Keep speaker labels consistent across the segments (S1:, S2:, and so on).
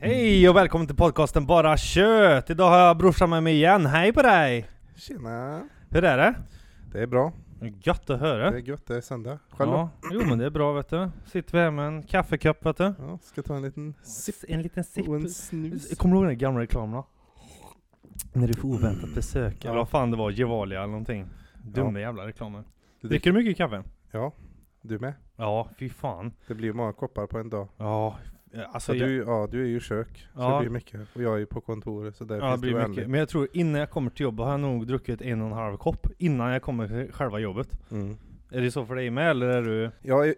S1: Hej och välkommen till podcasten Bara Kött! Idag har jag brorsan med mig igen, hej på dig!
S2: Tjena!
S1: Hur är det?
S2: Det är bra.
S1: Gött att höra!
S2: Det är gött, det är söndag. Själv då?
S1: ja. Jo men det är bra vet du. Sitter vi här med en kaffekopp vet du.
S2: ja. Ska ta en liten sipp
S1: En liten sipp.
S2: och en snus.
S1: Kommer du ihåg den gamla reklamerna? När du får oväntat besök, eller vad fan det var, Gevalia eller någonting. Dumma jävla reklamer.
S2: Du
S1: Dricker du mycket kaffe?
S2: Ja, du med.
S1: Ja, fy fan.
S2: Det blir ju många koppar på en dag.
S1: Ja, alltså
S2: Så
S1: jag,
S2: du, ja, du är ju i kök, så
S1: Ja.
S2: det blir mycket. Och jag är ju på kontoret, så där
S1: ja, det
S2: finns det
S1: blir mycket.
S2: oändligt.
S1: Men jag tror innan jag kommer till jobbet har jag nog druckit en och en halv kopp innan jag kommer till själva jobbet.
S2: Mm.
S1: Är det så för dig med eller är du...
S2: Jag är,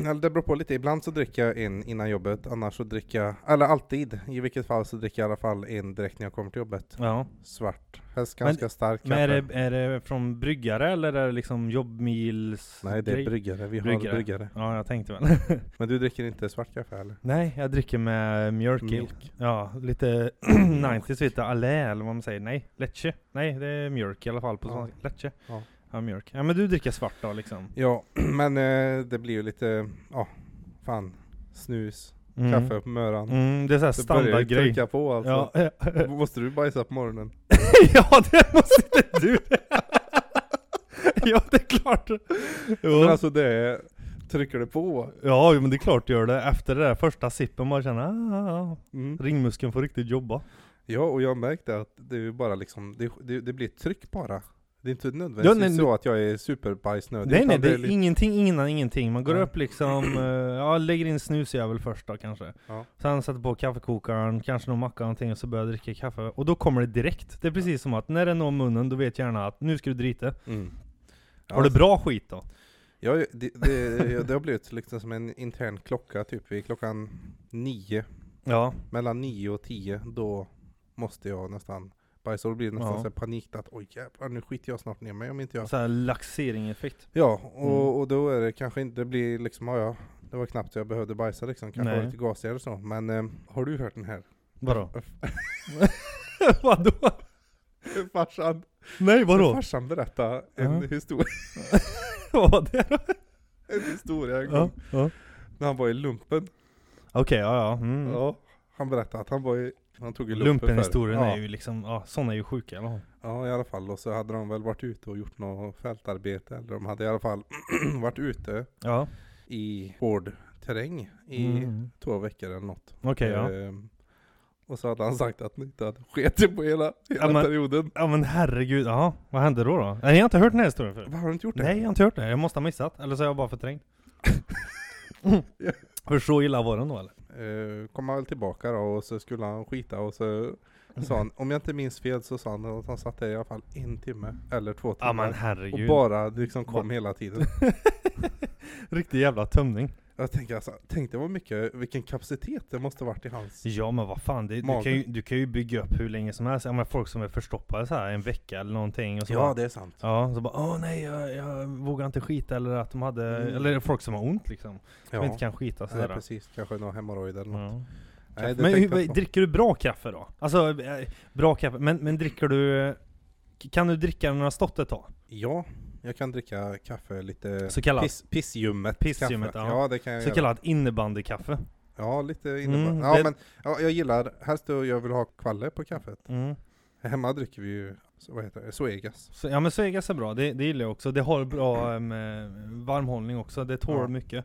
S2: eller det beror på lite. Ibland så dricker jag en innan jobbet, annars så dricker jag, eller alltid, i vilket fall så dricker jag i alla fall en direkt när jag kommer till jobbet.
S1: Ja.
S2: Svart. Helst
S1: Men-
S2: ganska stark
S1: Men är
S2: kaffe.
S1: det, är det från bryggare eller är det liksom jobbmils...
S2: Nej, det är
S1: grej?
S2: bryggare. Vi
S1: Bryggare.
S2: har bryggare.
S1: Ja, jag tänkte väl.
S2: Men du dricker inte svart kaffe heller?
S1: Nej, jag dricker med mjölk i.
S2: Mjölk.
S1: Ja, lite 90s lite allé eller vad man säger. Nej, leche. Nej, det är mjölk i alla fall på
S2: Ja.
S1: svenska. Leche. Ja.
S2: Ja.
S1: mjölk. Ja, men du dricker svart då liksom?
S2: Ja, men eh, det blir ju lite, ja, fan. Snus,
S1: Mm.
S2: kaffe på möran.
S1: Mm, det är såhär
S2: Det börjar ju
S1: standardgrej.
S2: trycka på alltså.
S1: Ja, ja.
S2: Då Måste du bajsa på morgonen?
S1: ja, det måste inte du! ja, det är klart! Jo.
S2: Men alltså det är, trycker det på?
S1: Ja, jo, men det är klart du gör det. Efter det där första sippen man känner ah, ah, ah.
S2: Mm.
S1: Ringmuskeln får riktigt jobba.
S2: Ja, och jag märkte att det är ju bara liksom, det, det, det blir ett tryck bara. Det är inte nödvändigtvis
S1: Ja, nej,
S2: så att jag är superbajsnödig.
S1: nej
S2: utan
S1: nej, det är
S2: lite-
S1: ingenting innan ingenting. Man går
S2: Ja.
S1: upp liksom, eh, ja lägger in snusjävel först då kanske.
S2: Ja.
S1: Sen sätter på kaffekokaren, kanske någon macka eller någonting och så börjar jag dricka kaffe. Och då kommer det direkt. Det är precis som att när det når munnen, då vet hjärnan att nu ska du drita.
S2: Mm. Ja,
S1: Har du bra skit då?
S2: Ja, det, det, ja, det har blivit liksom som en intern klocka, typ vid klockan nio,
S1: Ja.
S2: mellan nio och tio, då måste jag nästan bajsa. Och Då blir det nästan
S1: Ja.
S2: så här panikt att oj jävlar, nu skiter jag snart ner mig om inte jag...
S1: Så här laxering-effekt.
S2: Ja, och,
S1: Mm.
S2: och då är det kanske inte, det blir liksom, ja, ja, det var knappt så jag behövde bajsa liksom, kanske
S1: Nej.
S2: var lite gasigare och så. Men eh, har du hört den här?
S1: Vadå? vadå?
S2: farsan,
S1: Nej vadå?
S2: farsan berättade en,
S1: Ja.
S2: histori-
S1: Vad var det då?
S2: en historia en gång,
S1: Ja, ja.
S2: när han var i lumpen.
S1: Okej, ja ja. Mm.
S2: Ja, han berättade att han var i, han tog ju lumpen
S1: Lumpenhistorien
S2: förr.
S1: är ju liksom, ja sådana är ju sjuka eller hur?
S2: Ja i alla fall, och så hade de väl varit ute och gjort något fältarbete, eller de hade i alla fall varit ute
S1: Ja.
S2: i hård terräng i
S1: Mm.
S2: två veckor eller något.
S1: Okej ja.
S2: Ehm, och så hade han sagt att han inte hade skitit på hela, hela
S1: Ja, men-
S2: perioden.
S1: Ja men herregud, ja. Vad hände då då? Nej jag har inte hört den här historien förut.
S2: Vad har du inte gjort det?
S1: Nej jag har inte hört det, jag måste ha missat. Eller så har jag bara förträngt.
S2: Ja.
S1: För så illa var den då eller?
S2: Ehm, kom han väl tillbaka då och så skulle han skita och så sa han, om jag inte minns fel så sa han att han satt där i alla fall en timme eller två timmar.
S1: Ja men
S2: och
S1: herregud.
S2: bara liksom kom
S1: Bara-
S2: hela tiden.
S1: Riktig jävla tömning.
S2: Jag tänker alltså, tänk det var mycket, vilken kapacitet det måste varit i hans.
S1: Ja men vad fan, det, du,
S2: Magen.
S1: kan ju, du kan ju bygga upp hur länge som helst. Ja, men folk som är förstoppade så här en vecka eller någonting. Och så bara,
S2: Ja det är sant.
S1: ja, så bara åh nej jag, jag vågar inte skita eller att de hade,
S2: Mm.
S1: eller folk som har ont liksom. Som
S2: Ja.
S1: inte kan skita
S2: Nej,
S1: sådär.
S2: precis, kanske några hemorrojder eller
S1: Ja.
S2: något. Nej,
S1: Mm.
S2: det
S1: men hur,
S2: tänkte jag på.
S1: dricker du bra kaffe då? Alltså, eh, bra kaffe, men, men dricker du... Kan du dricka när du har stått ett tag?
S2: Ja, jag kan dricka kaffe lite
S1: Så kallat,
S2: piss, pissljummet.
S1: Pissljummet,
S2: kaffe.
S1: ja.
S2: ja. det kan jag
S1: så
S2: göra.
S1: kallat innebandykaffe.
S2: Ja, lite innebär.
S1: Mm,
S2: ja,
S1: det-
S2: men ja, jag gillar, helst då jag vill ha kvalle på kaffet.
S1: Mm.
S2: Hemma dricker vi ju, så- vad heter det, Zoegas.
S1: Så, ja men Svegas är bra, det, det gillar jag också. Det har bra em, eh, varmhållning också, det tål
S2: Ja.
S1: mycket.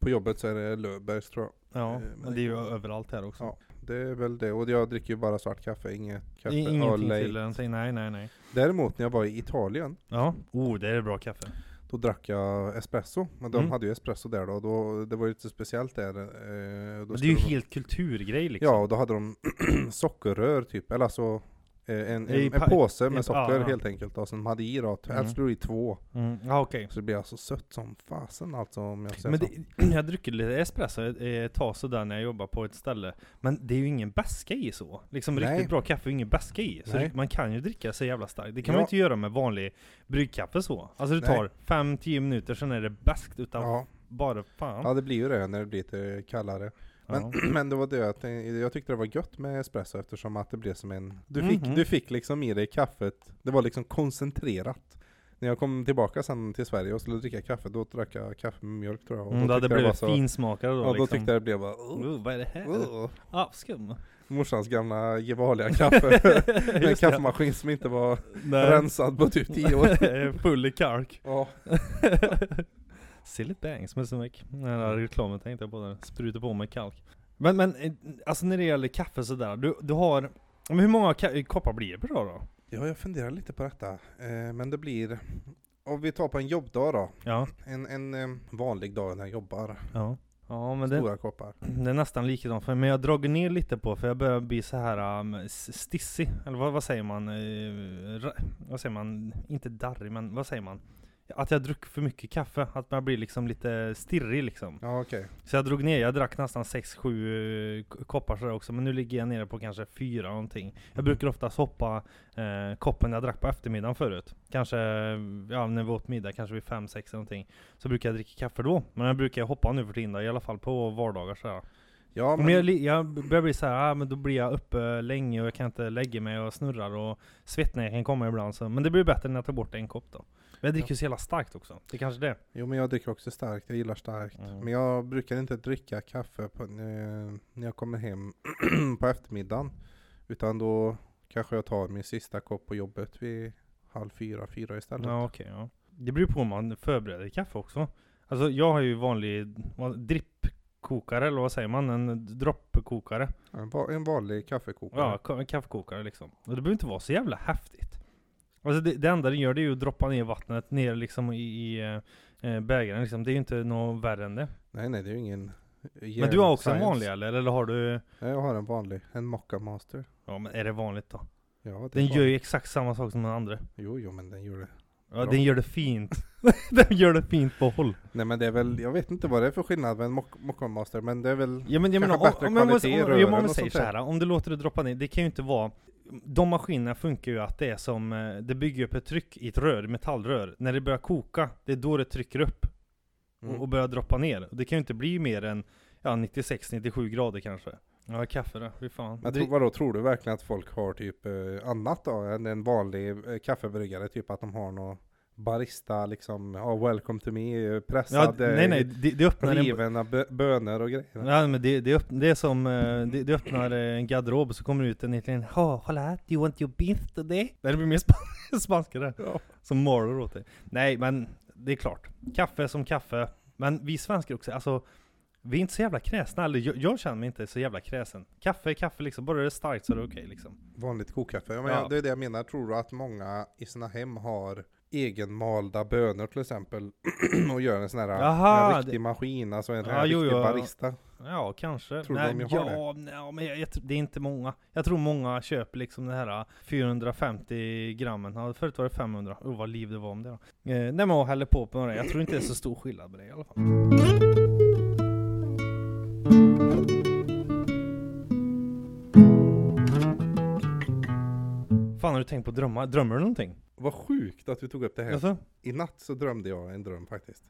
S2: På jobbet så är det Löfbergs tror jag.
S1: Ja,
S2: Eh, men
S1: men
S2: det
S1: det är ju
S2: går bra.
S1: överallt här också.
S2: Ja, Det är väl det, och jag dricker ju bara svart kaffe, inget
S1: Det är
S2: kaffe.
S1: Ingenting
S2: Olej.
S1: till någonting, nej nej nej.
S2: Däremot när jag var i Italien,
S1: Ja, oh det är bra kaffe.
S2: Då drack jag espresso, men de
S1: Mm.
S2: hade ju espresso där då, och då det var ju lite speciellt där. Eh, då
S1: Men det är
S2: skulle
S1: ju
S2: de,
S1: helt kulturgrej liksom.
S2: Ja, och då hade de sockerrör typ, eller alltså eh, en,
S1: I
S2: en,
S1: pa-
S2: en påse
S1: i-
S2: med socker
S1: ja, ja.
S2: helt enkelt, då, som de hade i då,
S1: Mm.
S2: helst skulle det i två.
S1: Mm. Ja okej.
S2: Så det blir alltså sött som fasen alltså om jag säger
S1: Men
S2: så.
S1: det, jag dricker lite espresso eh, ett tag sådär när jag jobbar på ett ställe Men det är ju ingen beska i så Liksom
S2: Nej.
S1: riktigt bra kaffe är ingen beska i Så
S2: Nej.
S1: det- man kan ju dricka så jävla starkt Det kan man
S2: Ja.
S1: ju inte göra med vanlig bryggkaffe så Alltså du
S2: Nej.
S1: tar 5-10 minuter sen är det beskt utan
S2: Ja,
S1: bara fan
S2: ja, det blir ju det när det blir lite kallare. Men,
S1: Ja.
S2: men det var det att eh, jag tyckte det var gött med espresso eftersom att det blev som en... Du fick,
S1: Mhm.
S2: du fick liksom i dig kaffet, det var liksom koncentrerat. När jag kom tillbaka sen till Sverige och skulle dricka kaffe, då drack jag kaffe med mjölk tror jag. Och
S1: Mm,
S2: då
S1: det hade
S2: tyckte jag
S1: blivit
S2: det var så-
S1: finsmakare då
S2: Ja, då
S1: liksom.
S2: tyckte jag det blev bara... "Ugh,
S1: oh, vad är det här?
S2: ugh."
S1: Ah, skum.
S2: Morsans gamla Gevalia-kaffe. Med en
S1: Just det.
S2: kaffemaskin som inte var
S1: Nej.
S2: rensad på typ 10 år.
S1: Full i kark.
S2: Ja.
S1: Silly bangs med som den här reklamen tänkte jag på där. Spruta på med kalk. Men, men eh, alltså när det gäller kaffe sådär, du, du har... Men hur många ka- eh, koppar blir det per dag då?
S2: ja, jag funderar lite på detta. Eh, men det blir... Om vi tar på en jobbdag då.
S1: Ja,
S2: En, en eh, vanlig dag när jag jobbar.
S1: ja. Ja men det,
S2: Stora koppar.
S1: det är nästan likadant för mig, men jag drog ner lite på för jag börjar bli så här um, s- stissig. Eller vad, vad säger man? Eh, ra- vad säger man? Inte darrig, men vad säger man? Att jag druck för mycket kaffe, att man blir liksom lite stirrig liksom.
S2: Ja, okej.
S1: Så jag drog ner, jag drack nästan 6-7 koppar sådär också, men nu ligger jag nere på kanske 4 någonting. Jag brukar oftast hoppa eh, koppen jag drack på eftermiddagen förut. Kanske, ja när vi åt middag, kanske vid 5-6 någonting. Så brukar jag dricka kaffe då. Men jag brukar hoppa nu för tiden, då, i alla fall på vardagar sådär.
S2: Ja,
S1: Men jag,
S2: men...
S1: li- jag börjar bli såhär, ah, men då blir jag uppe länge och jag kan inte lägga mig och snurrar och svettningar kan komma ibland. Så. Men det blir bättre när jag tar bort en kopp då. Men jag dricker ju så jävla starkt också. Det är kanske det.
S2: Jo, men jag dricker också starkt. Jag gillar starkt.
S1: Mm.
S2: Men jag brukar inte dricka kaffe på, eh, när jag kommer hem på eftermiddagen. Utan då kanske jag tar min sista kopp på jobbet vid halv fyra, fyra istället.
S1: Ja okej, ja. Det beror på om man förbereder kaffe också. Alltså jag har ju vanlig vad- drippkokare, eller vad säger man? En droppkokare.
S2: En, va- en vanlig kaffekokare.
S1: Ja, ka- en kaffekokare liksom. Och det behöver inte vara så jävla häftigt. Alltså det, det enda den gör det är ju att droppa ner vattnet ner liksom i, i eh, eh, bägaren liksom. Det är ju inte något värre än det.
S2: Nej, nej, det är ju ingen... eh,
S1: Men du har också
S2: science.
S1: en vanlig eller? Eller har du...
S2: Nej, jag har en vanlig. En Mocca Master.
S1: Ja men är det vanligt då?
S2: Ja, det är
S1: Den gör
S2: vanligt.
S1: ju exakt samma sak som den andra.
S2: Jo, jo, men den gör det.
S1: Ja,
S2: Bra.
S1: den gör det fint. den gör det fint på håll.
S2: Nej, men det är väl... Jag vet inte vad det är för skillnad med en Moc- Mocca Master, men det är väl...
S1: Ja men jag
S2: Kanske
S1: menar,
S2: bättre
S1: om, om, om,
S2: kvalitet i
S1: om,
S2: rören
S1: om, om man
S2: och
S1: säger
S2: sånt
S1: så
S2: där.
S1: här, om du låter det droppa ner, det kan ju inte vara De maskinerna funkar ju att det är som, eh, det bygger upp ett tryck i ett rör, metallrör När det börjar koka, det är då det trycker upp och-
S2: Mm.
S1: och börjar droppa ner Det kan ju inte bli mer än ja, 96-97 grader kanske Ja kaffe då, fy fan
S2: Men
S1: Det-
S2: tro, vadå, tror du verkligen att folk har typ eh, annat då än en vanlig eh, kaffebryggare? Typ att de har någon barista liksom, ja welcome to me, eh,
S1: ja,
S2: pressad,
S1: d- Nej nej,
S2: eh,
S1: det, det öppnar en
S2: rivna bö- bönor och grejer.
S1: Nej men det, det, öpp, det är som, eh, det, det öppnar eh, en garderob så kommer det ut en liten Ja, kolla här, do you want your beef today? Nej, Det blir mer sp- spanska där
S2: Ja.
S1: Som moror åt dig. Nej men det är klart. Kaffe som kaffe. Men vi svenskar också, alltså vi är inte så jävla kräsna. Eller jag, jag känner mig inte så jävla kräsen. Kaffe är kaffe liksom. Bara det är starkt så är det okej liksom.
S2: Vanligt kokkaffe. Ja, men
S1: Ja.
S2: jag- Det är det jag menar. Tror du att många i sina hem har egenmalda bönor till exempel och gör en sån här
S1: Jaha,
S2: en riktig maskin, alltså en,
S1: Ja,
S2: en
S1: jo,
S2: riktig
S1: jo.
S2: barista?
S1: Ja, kanske.
S2: Tror du
S1: nej,
S2: de har
S1: ja, nej, men jag, jag, tror- det är inte många. Jag tror många köper liksom det här 450 grammen. Ja, förut var det 500. Oh, vad liv det var om det då. Eh, nej men jag häller på på några. Jag tror inte det är så stor skillnad på det i alla fall. Fan har du tänkt på drömmar? Drömmer du någonting?
S2: Vad sjukt att du tog upp det här.
S1: Alltså,
S2: I natt så drömde jag en dröm faktiskt.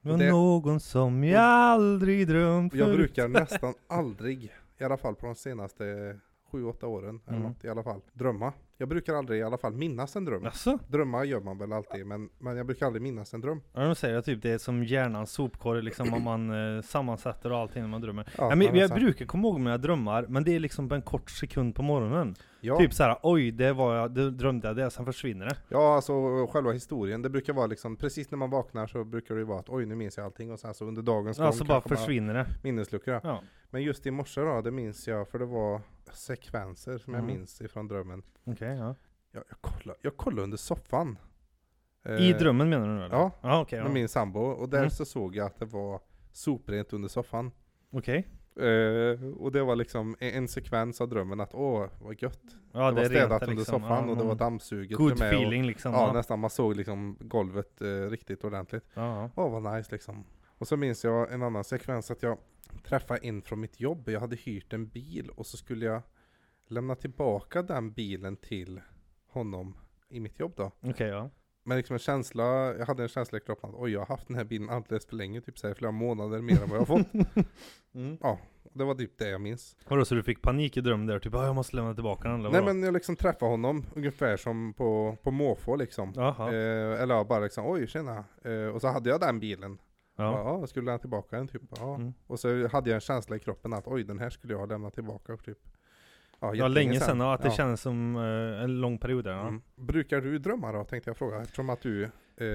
S1: men
S2: det-
S1: någon som jag aldrig drömt
S2: Jag
S1: förut.
S2: brukar nästan aldrig, i alla fall på de senaste 7-8 åren, eller
S1: Mm.
S2: något, i alla fall, drömma. Jag brukar aldrig i alla fall minnas en dröm.
S1: Alltså?
S2: Drömma gör man väl alltid, men, men jag brukar aldrig minnas en dröm.
S1: Ja de säger att typ det är som hjärnans sopkorg liksom om man eh, sammansätter och allting när man drömmer.
S2: Ja,
S1: Nej,
S2: men alltså-
S1: men jag
S2: sen-
S1: brukar komma ihåg mina drömmar, men det är liksom på en kort sekund på morgonen.
S2: ja,
S1: Typ såhär, oj det var jag, det drömde jag det, sen försvinner det.
S2: ja, alltså själva historien, det brukar vara liksom, precis när man vaknar så brukar det ju vara att oj, nu minns jag allting, och sen så under dagens gång
S1: Alltså bara
S2: kanske man har
S1: försvinner det.
S2: Minnesluckor, ja.
S1: Ja.
S2: Men just i morse då, det minns jag, för det var sekvenser som jag
S1: Mm.
S2: minns ifrån drömmen.
S1: Okej, ja.
S2: Jag, jag, kollade, jag kollade under soffan.
S1: I
S2: Eh,
S1: drömmen menar du nu eller?
S2: ja.
S1: Ja okej,
S2: med
S1: ja.
S2: min sambo och där
S1: Mm.
S2: så såg jag att det var soprent under soffan.
S1: Okej.
S2: Eh, och det var liksom en, en sekvens av drömmen att åh vad gött.
S1: Ja
S2: det, var
S1: rent
S2: städat
S1: där,
S2: under
S1: liksom.
S2: soffan
S1: Ja,
S2: och det var
S1: någon
S2: dammsuget
S1: Good
S2: med
S1: feeling liksom.
S2: Och, ja
S1: ja.
S2: nästan, man såg liksom golvet eh, riktigt ordentligt.
S1: Ja.
S2: Åh vad nice liksom. Och så minns jag en annan sekvens att jag träffade in från mitt jobb. Jag hade hyrt en bil och så skulle jag lämna tillbaka den bilen till honom i mitt jobb då.
S1: Okej ja.
S2: Men liksom en känsla, jag hade en känsla i kroppen att oj jag har haft den här bilen alldeles för länge, typ så här, i flera månader mer än vad jag har fått.
S1: Mm.
S2: Ja, Det var typ det jag minns.
S1: Vadå så du fick panik i drömmen där? Typ "Ah, jag måste lämna tillbaka den eller
S2: Nej
S1: vadå?"
S2: men jag liksom träffade honom ungefär som på, på måfå liksom.
S1: Jaha.
S2: Eh, eller ja, bara liksom oj tjena. Eh, och så hade jag den bilen.
S1: ja.
S2: Ja, jag skulle lämna tillbaka den typ. Ja.
S1: Mm.
S2: Och så hade jag en känsla i kroppen att oj den här skulle jag lämna tillbaka typ.
S1: ja
S2: jättelänge
S1: länge sedan, ja, att det
S2: Ja.
S1: kändes som eh, en lång period där. Ja.
S2: Mm. Brukar du drömma då, tänkte jag fråga. Eftersom att du, eh,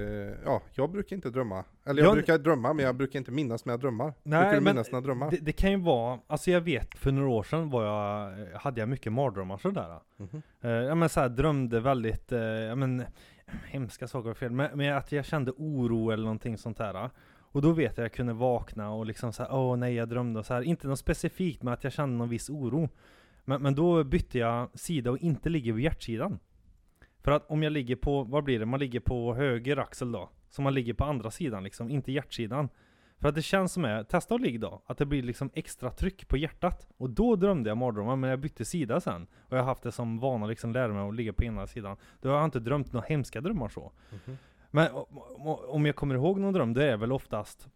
S2: ja, jag brukar inte drömma. Eller jag,
S1: Jag-
S2: brukar drömma, men jag brukar inte minnas mina drömmar.
S1: Nej,
S2: brukar du
S1: men
S2: minnas dina drömmar?
S1: Det, det kan ju vara, alltså jag vet för några år sedan var jag, eh, hade jag mycket mardrömmar sådär.
S2: Mhm.
S1: Eh, ja men såhär drömde väldigt, eh, ja men hemska saker var fel, men, men att jag kände oro eller någonting sånt där. Och då vet jag att jag kunde vakna och liksom såhär, åh nej jag drömde och så här. Inte något specifikt men att jag kände någon viss oro. Men, men då bytte jag sida och inte ligger vid hjärtsidan. För att om jag ligger på, vad blir det, man ligger på höger axel då. Så man ligger på andra sidan liksom, inte hjärtsidan. För att det känns som, är, testa att ligga då, att det blir liksom extra tryck på hjärtat. Och då drömde jag mardrömmar, men jag bytte sida sen. Och jag har haft det som vana liksom lära mig att ligga på ena sidan. Då har jag inte drömt några hemska drömmar så.
S2: Mhm.
S1: Men o- o- om jag kommer ihåg någon dröm, det är väl oftast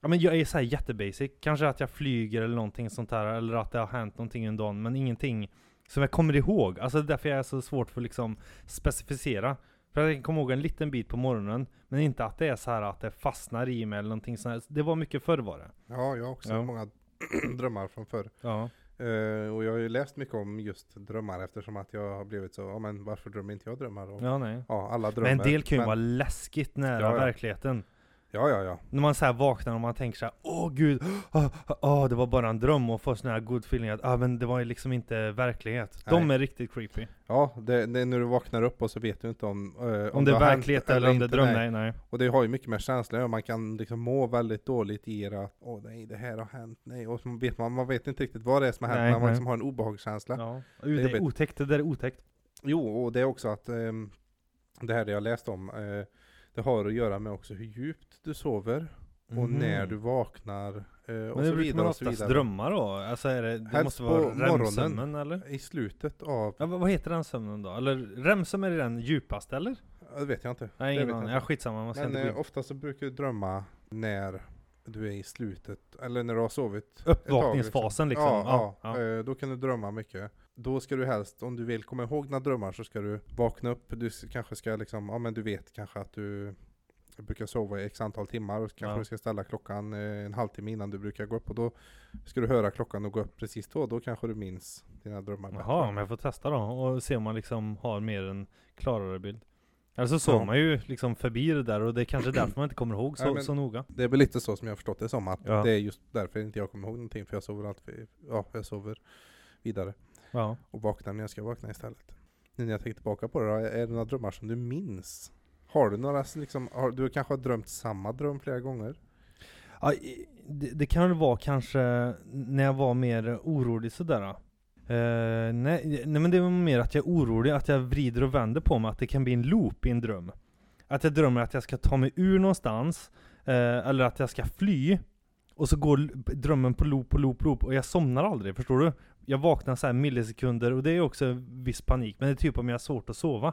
S1: Ja men jag är såhär jättebasic, kanske att jag flyger eller någonting sånt där, eller att det har hänt någonting en dag, men ingenting som jag kommer ihåg. Alltså det är därför jag är så svårt för att liksom specificera. För att jag kan komma ihåg en liten bit på morgonen, men inte att det är så här att det fastnar i mig eller någonting sånt här. Det var mycket förr var det.
S2: Ja, jag har också
S1: Ja.
S2: många drömmar från förr.
S1: Ja.
S2: Eh, och jag har ju läst mycket om just drömmar eftersom att jag har blivit så, ja men varför drömmer inte jag drömmar? Och, ja.
S1: Ja nej.
S2: alla drömmar.
S1: Men en del kan ju vara läskigt nära
S2: Ja, ja.
S1: verkligheten.
S2: Ja, ja, ja.
S1: När man så här vaknar och man tänker så här, åh gud, åh, åh, det var bara en dröm och får sån här good feeling att ah, men det var ju liksom inte verklighet. De
S2: Nej.
S1: är riktigt creepy.
S2: Ja, det, det, är när du vaknar upp och så vet du inte om, eh, om,
S1: Om, det är
S2: har hänt
S1: verklighet eller om det är
S2: inte.
S1: dröm,
S2: Nej.
S1: nej nej.
S2: Och det har ju mycket med känslor och man kan liksom må väldigt dåligt i det att åh nej, det här har hänt, nej. Och så vet man, man vet inte riktigt vad det är som har hänt,
S1: Nej,
S2: men man
S1: nej.
S2: liksom har en obehagskänsla.
S1: Ja.
S2: är
S1: Det är
S2: jobbigt.
S1: otäckt, det där är otäckt.
S2: Jo, och det är också att ehm, det här det jag läst om, eh, det har att göra med också hur djupt du sover och
S1: Mhm.
S2: när du vaknar eh, och
S1: Men
S2: så
S1: det brukar man
S2: vidare och så
S1: oftast
S2: vidare.
S1: drömma då? Alltså är det, det
S2: Helst
S1: måste
S2: på
S1: vara
S2: morgonen.
S1: REM-sömnen eller?
S2: I slutet av,
S1: Ja, vad vad heter den sömnen då? Eller REM-sömn är den djupaste eller?
S2: ja, det vet jag inte.
S1: Nej
S2: Det
S1: ingen
S2: vet jag
S1: aning,
S2: inte.
S1: ja, skitsamma man ska
S2: Men
S1: inte gå
S2: eh,
S1: in.
S2: ofta så brukar du drömma när du är i slutet, eller när du har sovit
S1: Uppvakningsfasen liksom.
S2: liksom. Ja,
S1: Ja,
S2: ja. Eh, då kan du drömma mycket. Då ska du helst, om du vill komma ihåg dina drömmar så ska du vakna upp. Du s- kanske ska liksom, ja men du vet kanske att du brukar sova i x antal timmar och kanske
S1: Ja.
S2: du ska ställa klockan eh, en halvtimme innan du brukar gå upp och då ska du höra klockan och gå upp precis då. Då kanske du minns dina drömmar
S1: Jaha, men jag får testa då och se om man liksom har mer en klarare bild. Eller så såg
S2: Ja.
S1: man ju liksom förbi det där och det är kanske därför man inte kommer ihåg så,
S2: Nej, men-
S1: så noga.
S2: Det är väl lite så som jag har förstått det som att
S1: Ja.
S2: det är just därför inte jag kommer ihåg någonting för jag sover alltid, ja jag sover vidare
S1: Ja.
S2: och vaknar när jag ska vakna istället. Nu när jag tänker tillbaka på det då, är det några drömmar som du minns? Har du några, som liksom, har, du kanske har drömt samma dröm flera gånger?
S1: Ja, i- det, det kan väl vara kanske när jag var mer orolig sådär. Eh, nej, nej men det var mer att jag är orolig, att jag vrider och vänder på mig, att det kan bli en loop i en dröm. Att jag drömmer att jag ska ta mig ur någonstans, eh, eller att jag ska fly. Och så går l- drömmen på loop, på loop, loop och jag somnar aldrig, förstår du? Jag vaknar så här millisekunder och det är också viss panik, men det är typ om jag har svårt att sova.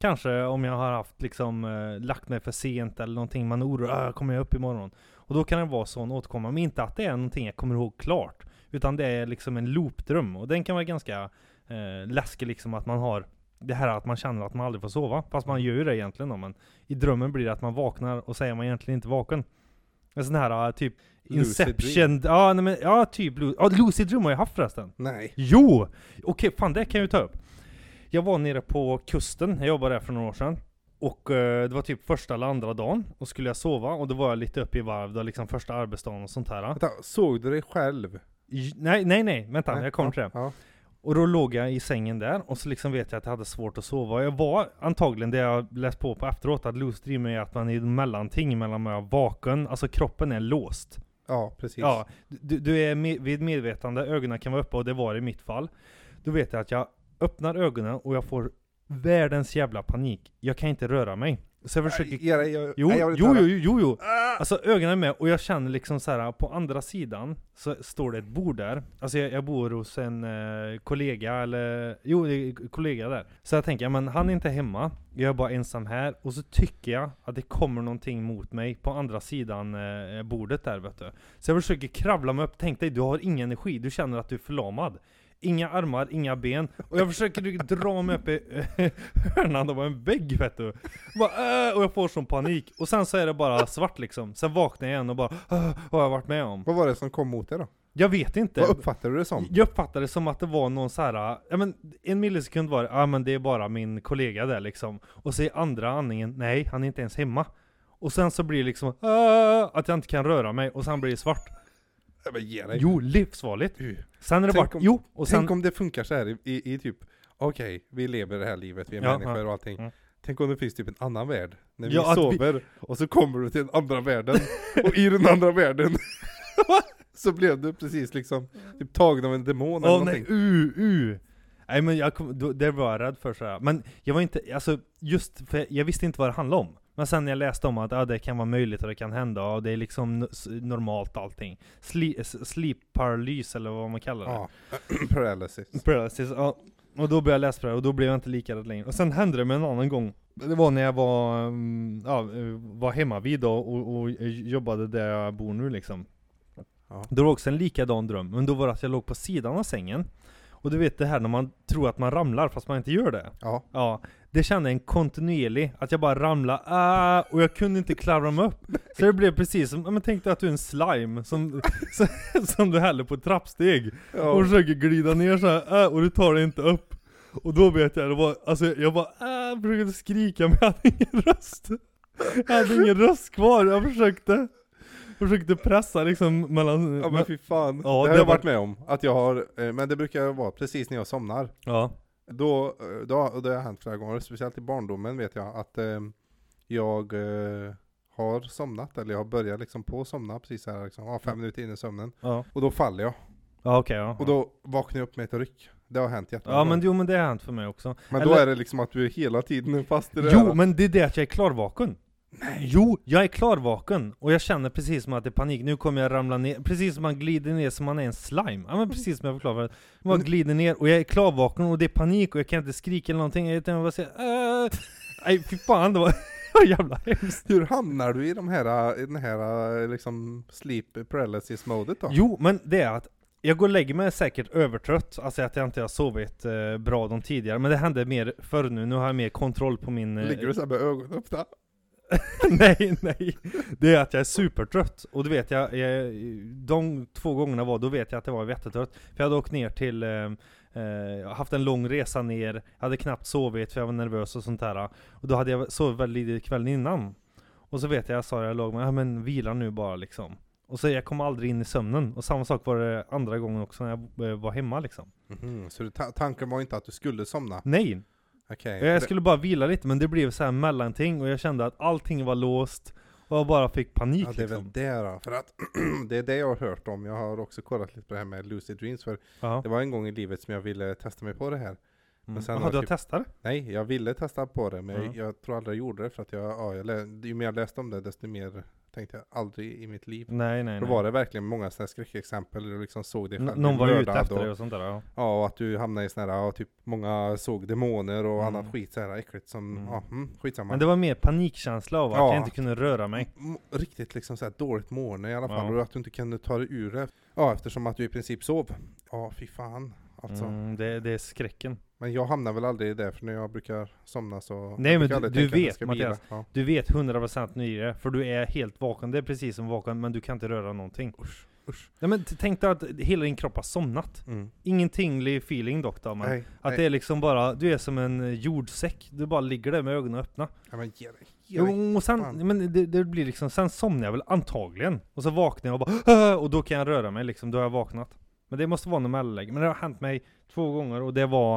S1: Kanske om jag har haft liksom, eh, lagt mig för sent eller någonting, man är orolig, "Ah, kommer jag upp imorgon? Och då kan det vara sån återkomma, men inte att det är någonting jag kommer ihåg klart. Utan det är liksom en loopdröm, och den kan vara ganska eh, läskig liksom att man har det här att man känner att man aldrig får sova. Fast man gör ju det egentligen då, men i drömmen blir det att man vaknar och säger man egentligen inte vaken. En sån här eh, typ
S2: Lucid
S1: Inception, ja, nej, men, ja typ lu- ja, Lucid Dream har jag haft förresten.
S2: Nej.
S1: Jo! Okej, fan det kan jag ju ta upp. Jag var nere på kusten, jag jobbade där för några år sedan. Och eh, det var typ första eller andra dagen, och skulle jag sova, och då var jag lite uppe i varv, då liksom första arbetsdagen och sånt här.
S2: Vänta, såg du dig själv?
S1: J- Nej, nej, nej, vänta,
S2: Nej,
S1: jag kommer till det.
S2: Ja.
S1: Och då låg jag i sängen där och så liksom vet jag att jag hade svårt att sova. Jag var antagligen, det jag läst på på efteråt, att lucid dream är att man är i mellanting mellan man är vaken, alltså kroppen är låst.
S2: ja, precis.
S1: Ja, du, du är med, vid medvetande, ögonen kan vara uppe och det var i mitt fall. Då vet jag att jag öppnar ögonen och jag får världens jävla panik. Jag kan inte röra mig. Så jag försöker...
S2: Nej, Era, jag,
S1: Jo,
S2: nej, jag
S1: jo,
S2: vill inte
S1: jo, jo,
S2: höra.
S1: jo.
S2: Ah!
S1: Alltså ögonen är med och jag känner liksom så här på andra sidan så står det ett bord där. Alltså jag, jag bor hos en eh, kollega eller, jo det är en kollega där. Så jag tänker, ja, men han är inte hemma, jag är bara ensam här. Och så tycker jag att det kommer någonting mot mig på andra sidan eh, bordet där vet du. Så jag försöker kravla mig upp, tänk dig du har ingen energi, du känner att du är förlamad. Inga armar, inga ben. Och jag försöker du, dra mig upp i eh, hörnan, det var en vägg vet du. Bara, äh, och jag får sån panik. Och sen så är det bara svart liksom. Sen vaknar jag igen och bara äh, vad har jag varit med om?
S2: Vad var det som kom mot dig då?
S1: Jag vet inte.
S2: Vad uppfattade du det som?
S1: Jag uppfattade det som att det var någon så här, ja men en millisekund var det, ja men det är bara min kollega där liksom. Och så i andra andningen, nej han är inte ens hemma. Och sen så blir det liksom, äh, att jag inte kan röra mig och sen blir det svart.
S2: Nej, men ge dig.
S1: Jo, livsfarligt.
S2: Uh,
S1: Sen är det
S2: Tänk
S1: bara,
S2: om-
S1: jo, och sen,
S2: Tänk om det funkar så här i, i, i typ, okej, vi lever det här livet, vi är
S1: Ja, ja.
S2: människor och allting.
S1: Mm.
S2: Tänk om det finns typ en annan värld, när
S1: Ja,
S2: vi
S1: att vi-
S2: sover, och så kommer du till den andra världen, och i den andra världen så blev du precis liksom typ tagen av en demon eller
S1: Åh nej,
S2: någonting.
S1: u, u. Nej men jag kom, då, det var jag rädd för sådär. Men jag var inte, alltså just för jag visste inte vad det handlade om. Men sen när jag läste om att ja, det kan vara möjligt och det kan hända och det är liksom n- s- normalt allting. Sli, s- sleep paralys eller vad man kallar det.
S2: Ja, paralysis.
S1: Paralysis, ja. Och då började jag läsa på det och då blev jag inte lika rädd längre. Och sen hände det med en annan gång. Det var när jag var, mm, ja, eh, var hemma vid då och, och jobbade där jag bor nu liksom.
S2: Ja.
S1: Då var det också en likadan dröm, men då var det att jag låg på sidan av sängen. Och du vet det här när man tror att man ramlar fast man inte gör det.
S2: Ja,
S1: Ja, det kände jag en kontinuerlig, att jag bara ramlade, ah, och jag kunde inte klara mig upp. Så det blev precis som, ja, men tänk dig att du är en slime som, som, som du häller på ett trappsteg. Och
S2: ja.
S1: försöker glida ner så här, äh, och du tar det inte upp. Och då vet jag, det var, alltså jag bara äh, försökte skrika men jag hade ingen röst. Jag hade ingen röst kvar, jag försökte. Försökte pressa liksom mellan...
S2: ja men fy fan.
S1: Ja,
S2: det har
S1: det
S2: jag
S1: var-
S2: varit med om, att jag har, eh, men det brukar vara precis när jag somnar.
S1: ja.
S2: Då, eh, då, och det har hänt flera gånger, speciellt i barndomen vet jag, att eh, jag eh, har somnat, eller jag har börjat liksom på att somna precis så här, liksom, ja, fem minuter in i sömnen.
S1: Ja,
S2: Och då faller jag.
S1: ja okej ja.
S2: Och då vaknar jag upp med ett ryck. Det har hänt jättemånga
S1: Ja men
S2: gånger.
S1: jo men det har hänt för mig också.
S2: men då
S1: eller-
S2: är det liksom att du är hela tiden fast i det
S1: Jo
S2: här.
S1: men det är det att jag är klarvaken. Nej. Jo, jag är klarvaken och jag känner precis som att det är panik, nu kommer jag ramla ner, precis som man glider ner som man är en slime. Ja men precis som jag förklarade Man glider ner och jag är klarvaken och det är panik och jag kan inte skrika eller någonting, jag utan jag bara säger äh. Nej fy fan det var jävla hemskt.
S2: Hur hamnar du i de här, i den här eh, liksom sleep paralysis modet då?
S1: Jo men det är att jag går och lägger mig säkert övertrött, alltså att jag inte har sovit eh, bra de tidigare, men det hände mer förr nu, nu har jag mer kontroll på min... eh,
S2: Ligger du såhär med ögonen öppna?
S1: nej, nej. Det är att jag är supertrött. Och du vet, jag, jag, de två gångerna var, då vet jag att jag var jättetrött. För jag hade åkt ner till, eh, eh, jag har haft en lång resa ner, jag hade knappt sovit för jag var nervös och sånt där. Och då hade jag sovit väldigt lite kvällen innan. Och så vet jag, jag sa jag låg med, ja men vila nu bara liksom. Och så jag kom aldrig in i sömnen. Och samma sak var det andra gången också när jag eh, var hemma liksom.
S2: Mhm, så du, ta- tanken var inte att du skulle somna?
S1: Nej,
S2: Okej.
S1: jag skulle bara vila lite men det blev så här mellanting och jag kände att allting var låst. Och jag bara fick panik
S2: Ja, det är
S1: liksom.
S2: väl det då. För att det är det jag har hört om. Jag har också kollat lite på det här med Lucid Dreams. För
S1: Ja.
S2: det var en gång i livet som jag ville testa mig på det här.
S1: Mm.
S2: sen
S1: Jaha,
S2: har
S1: du har
S2: typ-
S1: testat det?
S2: Nej, jag ville testa på det, men
S1: Ja.
S2: jag, jag tror aldrig jag gjorde det. För att jag, ja, jag lä- ju mer jag läste om det, desto mer tänkte jag aldrig i mitt liv.
S1: Nej, nej,
S2: Då
S1: nej.
S2: var det verkligen många sådana här skräckexempel, där du liksom såg det
S1: N-
S2: själv. bli
S1: någon var ute
S2: mördad
S1: efter
S2: och,
S1: dig och sånt där ja.
S2: Ja, och att du hamnade i sådana här, ja, typ många såg demoner och
S1: Mm.
S2: annat skit så här äckligt som,
S1: Mm.
S2: ja, mm, skitsamma.
S1: Men det var mer panikkänsla av att
S2: Ja.
S1: jag inte kunde röra mig.
S2: M- Riktigt liksom så här dåligt mående i alla fall,
S1: Ja.
S2: och att du inte kunde ta dig ur det. Ja, eftersom att du i princip sov. Ja, fy fan. Alltså.
S1: Mm, det, det är skräcken.
S2: Men jag hamnar väl aldrig i det, för när jag brukar somna så... jag
S1: men
S2: brukar
S1: du-
S2: aldrig
S1: du
S2: tänka att jag
S1: vet,
S2: ska
S1: Mattias.
S2: vila. Ja.
S1: Du vet 100% nu i det, för du är helt vaken. Det är precis som vaken, men du kan inte röra någonting.
S2: Usch, usch.
S1: Nej, men t- tänk dig att hela din kropp har somnat.
S2: Mm.
S1: Ingen tinglig feeling dock då, men
S2: Nej,
S1: Att
S2: nej.
S1: det är liksom bara, du är som en eh, jordsäck. Du bara ligger där med ögonen öppna.
S2: Ja, men ge dig. Ge dig.
S1: Jo, och sen,
S2: fan.
S1: men det, det blir liksom, sen somnar jag väl antagligen. Och så vaknar jag och bara "Åh!" och då kan jag röra mig liksom, då har jag vaknat. Men det måste vara något mellanläge. Men det har hänt mig två gånger och det var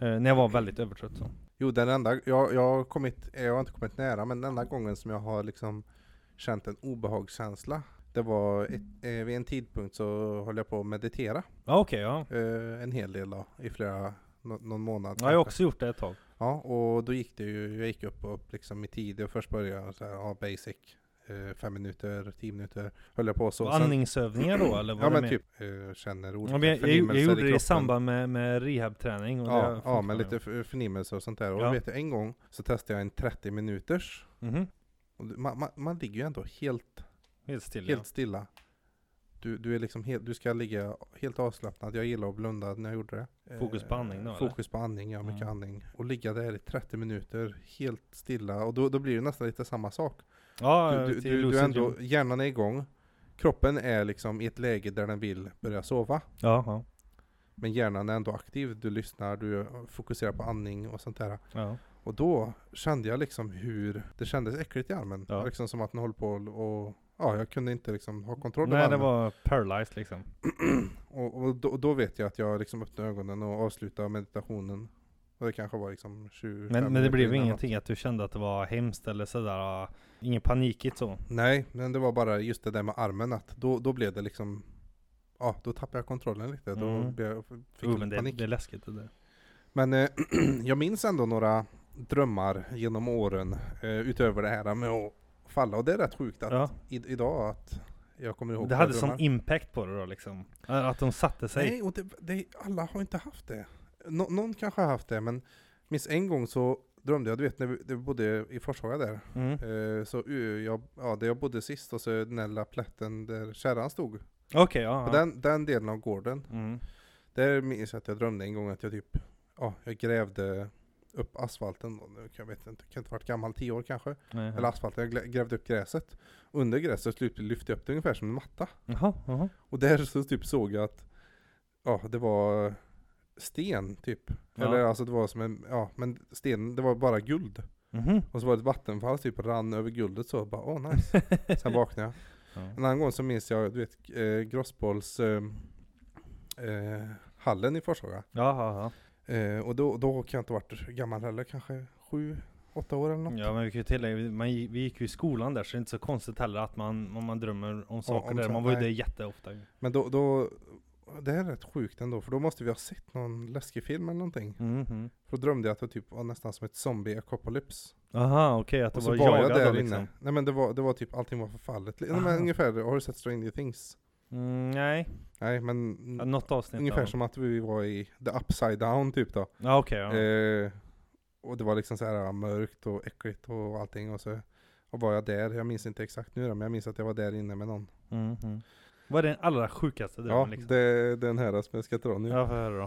S1: eh, när jag var väldigt övertrött. Så.
S2: Jo, den enda, jag, jag, har kommit, jag har inte kommit nära, men den enda gången som jag har liksom känt en obehagskänsla, det var ett, eh, vid en tidpunkt så höll jag på att meditera
S1: Ja okej, ja.
S2: eh, en hel del då, i flera, nå- någon månad.
S1: ja. Jag har också gjort det ett tag.
S2: Ja, och då gick det ju, jag gick upp, upp liksom i tid och först började jag så här, ja, basic, eh, fem minuter, tio minuter, höll jag på så.
S1: Så
S2: Sen-
S1: andningsövningar då eller var
S2: Ja
S1: det
S2: men
S1: mer?
S2: typ, eh, känner
S1: Ja,
S2: olika
S1: men jag, jag, jag
S2: förnimmelser
S1: gjorde det i
S2: kroppen.
S1: samband med, med rehabträning. Och det har
S2: Ja,
S1: jag
S2: ja men
S1: fortfarande
S2: lite för- förnimmelser och sånt där. Och
S1: Ja.
S2: vet jag, en gång så testade jag en 30 minuters.
S1: gjort. Mhm.
S2: Och du- Man, man, man ligger ju ändå helt,
S1: Helt still
S2: helt stilla. Du, du, är liksom helt, du ska ligga helt avslappnad. Jag gillar att blunda när jag gjorde det. Eh,
S1: Fokus på andning då, eller?
S2: Fokus på andning, ja mycket
S1: Mm.
S2: andning. Och ligga där i 30 minuter helt stilla. Och då, då blir det nästan lite samma sak.
S1: ja. Ja,
S2: Du, du,
S1: till
S2: du, du
S1: lucid
S2: är ändå,
S1: dream.
S2: hjärnan är igång. Kroppen är liksom i ett läge där den vill börja sova.
S1: Ja, ja,
S2: Men hjärnan är ändå aktiv. Du lyssnar, du fokuserar på andning och sånt där.
S1: ja.
S2: Och då kände jag liksom hur det kändes äckligt i armen.
S1: Ja.
S2: Liksom som att den höll på och ja, jag kunde inte liksom ha kontroll över
S1: Nej det
S2: armen.
S1: var paralyzed liksom.
S2: Och, och då, då vet jag att jag liksom öppnade ögonen och avslutade meditationen. Och det kanske var liksom 20
S1: Men, men det blev ingenting att du kände att det var hemskt eller sådär? ah, Ingen panikigt så?
S2: Nej, men det var bara just det där med armen att då, då blev det liksom Ja, då tappade jag kontrollen lite. Då
S1: Mm.
S2: blev jag, fick
S1: Jo
S2: jag
S1: men
S2: lite
S1: det,
S2: panik.
S1: det är läskigt det där.
S2: Men eh, jag minns ändå några drömmar genom åren eh, utöver det här med att falla. Och det är rätt sjukt att
S1: Ja,
S2: i, idag att jag kommer ihåg
S1: det
S2: vad jag
S1: hade sån
S2: drömmer.
S1: impact på det då liksom? Att de satte sig?
S2: Nej, och det, det, alla har inte haft det. Nå, någon kanske har haft det, men minns en gång så drömde jag, du vet när vi, när vi bodde i Forshaga där,
S1: Mm.
S2: eh, så u- jag, ja, där jag bodde sist och så den där lilla plätten där kärran stod.
S1: Okej, ja.
S2: På
S1: ja.
S2: den, den delen av gården,
S1: Mm.
S2: där minns jag att jag drömde en gång att jag typ, ja, jag grävde upp asfalten, då. Nu kan jag vet inte, kan inte ha varit gammal, tio år kanske,
S1: Nej,
S2: eller asfalten, jag glä- grävde upp gräset. Under gräset lyfte jag upp det ungefär som en matta.
S1: Jaha, jaha.
S2: Och där så typ såg jag att ja, det var sten typ.
S1: Ja.
S2: Eller alltså det var som en, ja men sten, det var bara guld.
S1: Mhm.
S2: Och så var det ett vattenfall typ rann över guldet så, bara åh nice. Sen vaknade jag.
S1: Ja.
S2: En annan gång så minns jag, du vet, eh, Grossbolls eh, eh, hallen i Forshaga.
S1: Ja, ja,
S2: Eh, och då, då kan jag inte ha varit gammal heller, kanske sju, åtta år eller
S1: ja.
S2: något.
S1: ja men vi kan ju tillägga, man, gi- vi gick ju i skolan där så det är inte så konstigt heller att man, om man drömmer om saker
S2: om
S1: där.
S2: så-
S1: Man var ju
S2: nej.
S1: där jätteofta. ju.
S2: Men då, då, det här är rätt sjukt ändå, för då måste vi ha sett någon läskig film eller någonting.
S1: Mhm.
S2: För då drömde jag att det typ var nästan som ett zombie apocalypse.
S1: Aha, okej att det
S2: Och så
S1: var,
S2: var
S1: jagad
S2: jag där
S1: då,
S2: inne.
S1: liksom.
S2: Nej men det var, det var typ allting var förfallet. Nej,
S1: Aha.
S2: men ungefär, har du sett Stranger Things?
S1: Mm, nej,
S2: Nej men
S1: Ja, något avsnitt.
S2: Mm. ungefär
S1: av-
S2: som att vi var i the upside down typ då.
S1: Ja okej, ja.
S2: Eh, och det var liksom så här mörkt och äckligt och allting och så och var jag där, jag minns inte exakt nu då, men jag minns att jag var där inne med någon.
S1: Mhm. Vad är den allra sjukaste drömmen
S2: Ja,
S1: liksom?
S2: det är den här som jag ska dra nu.
S1: Ja, får jag höra då.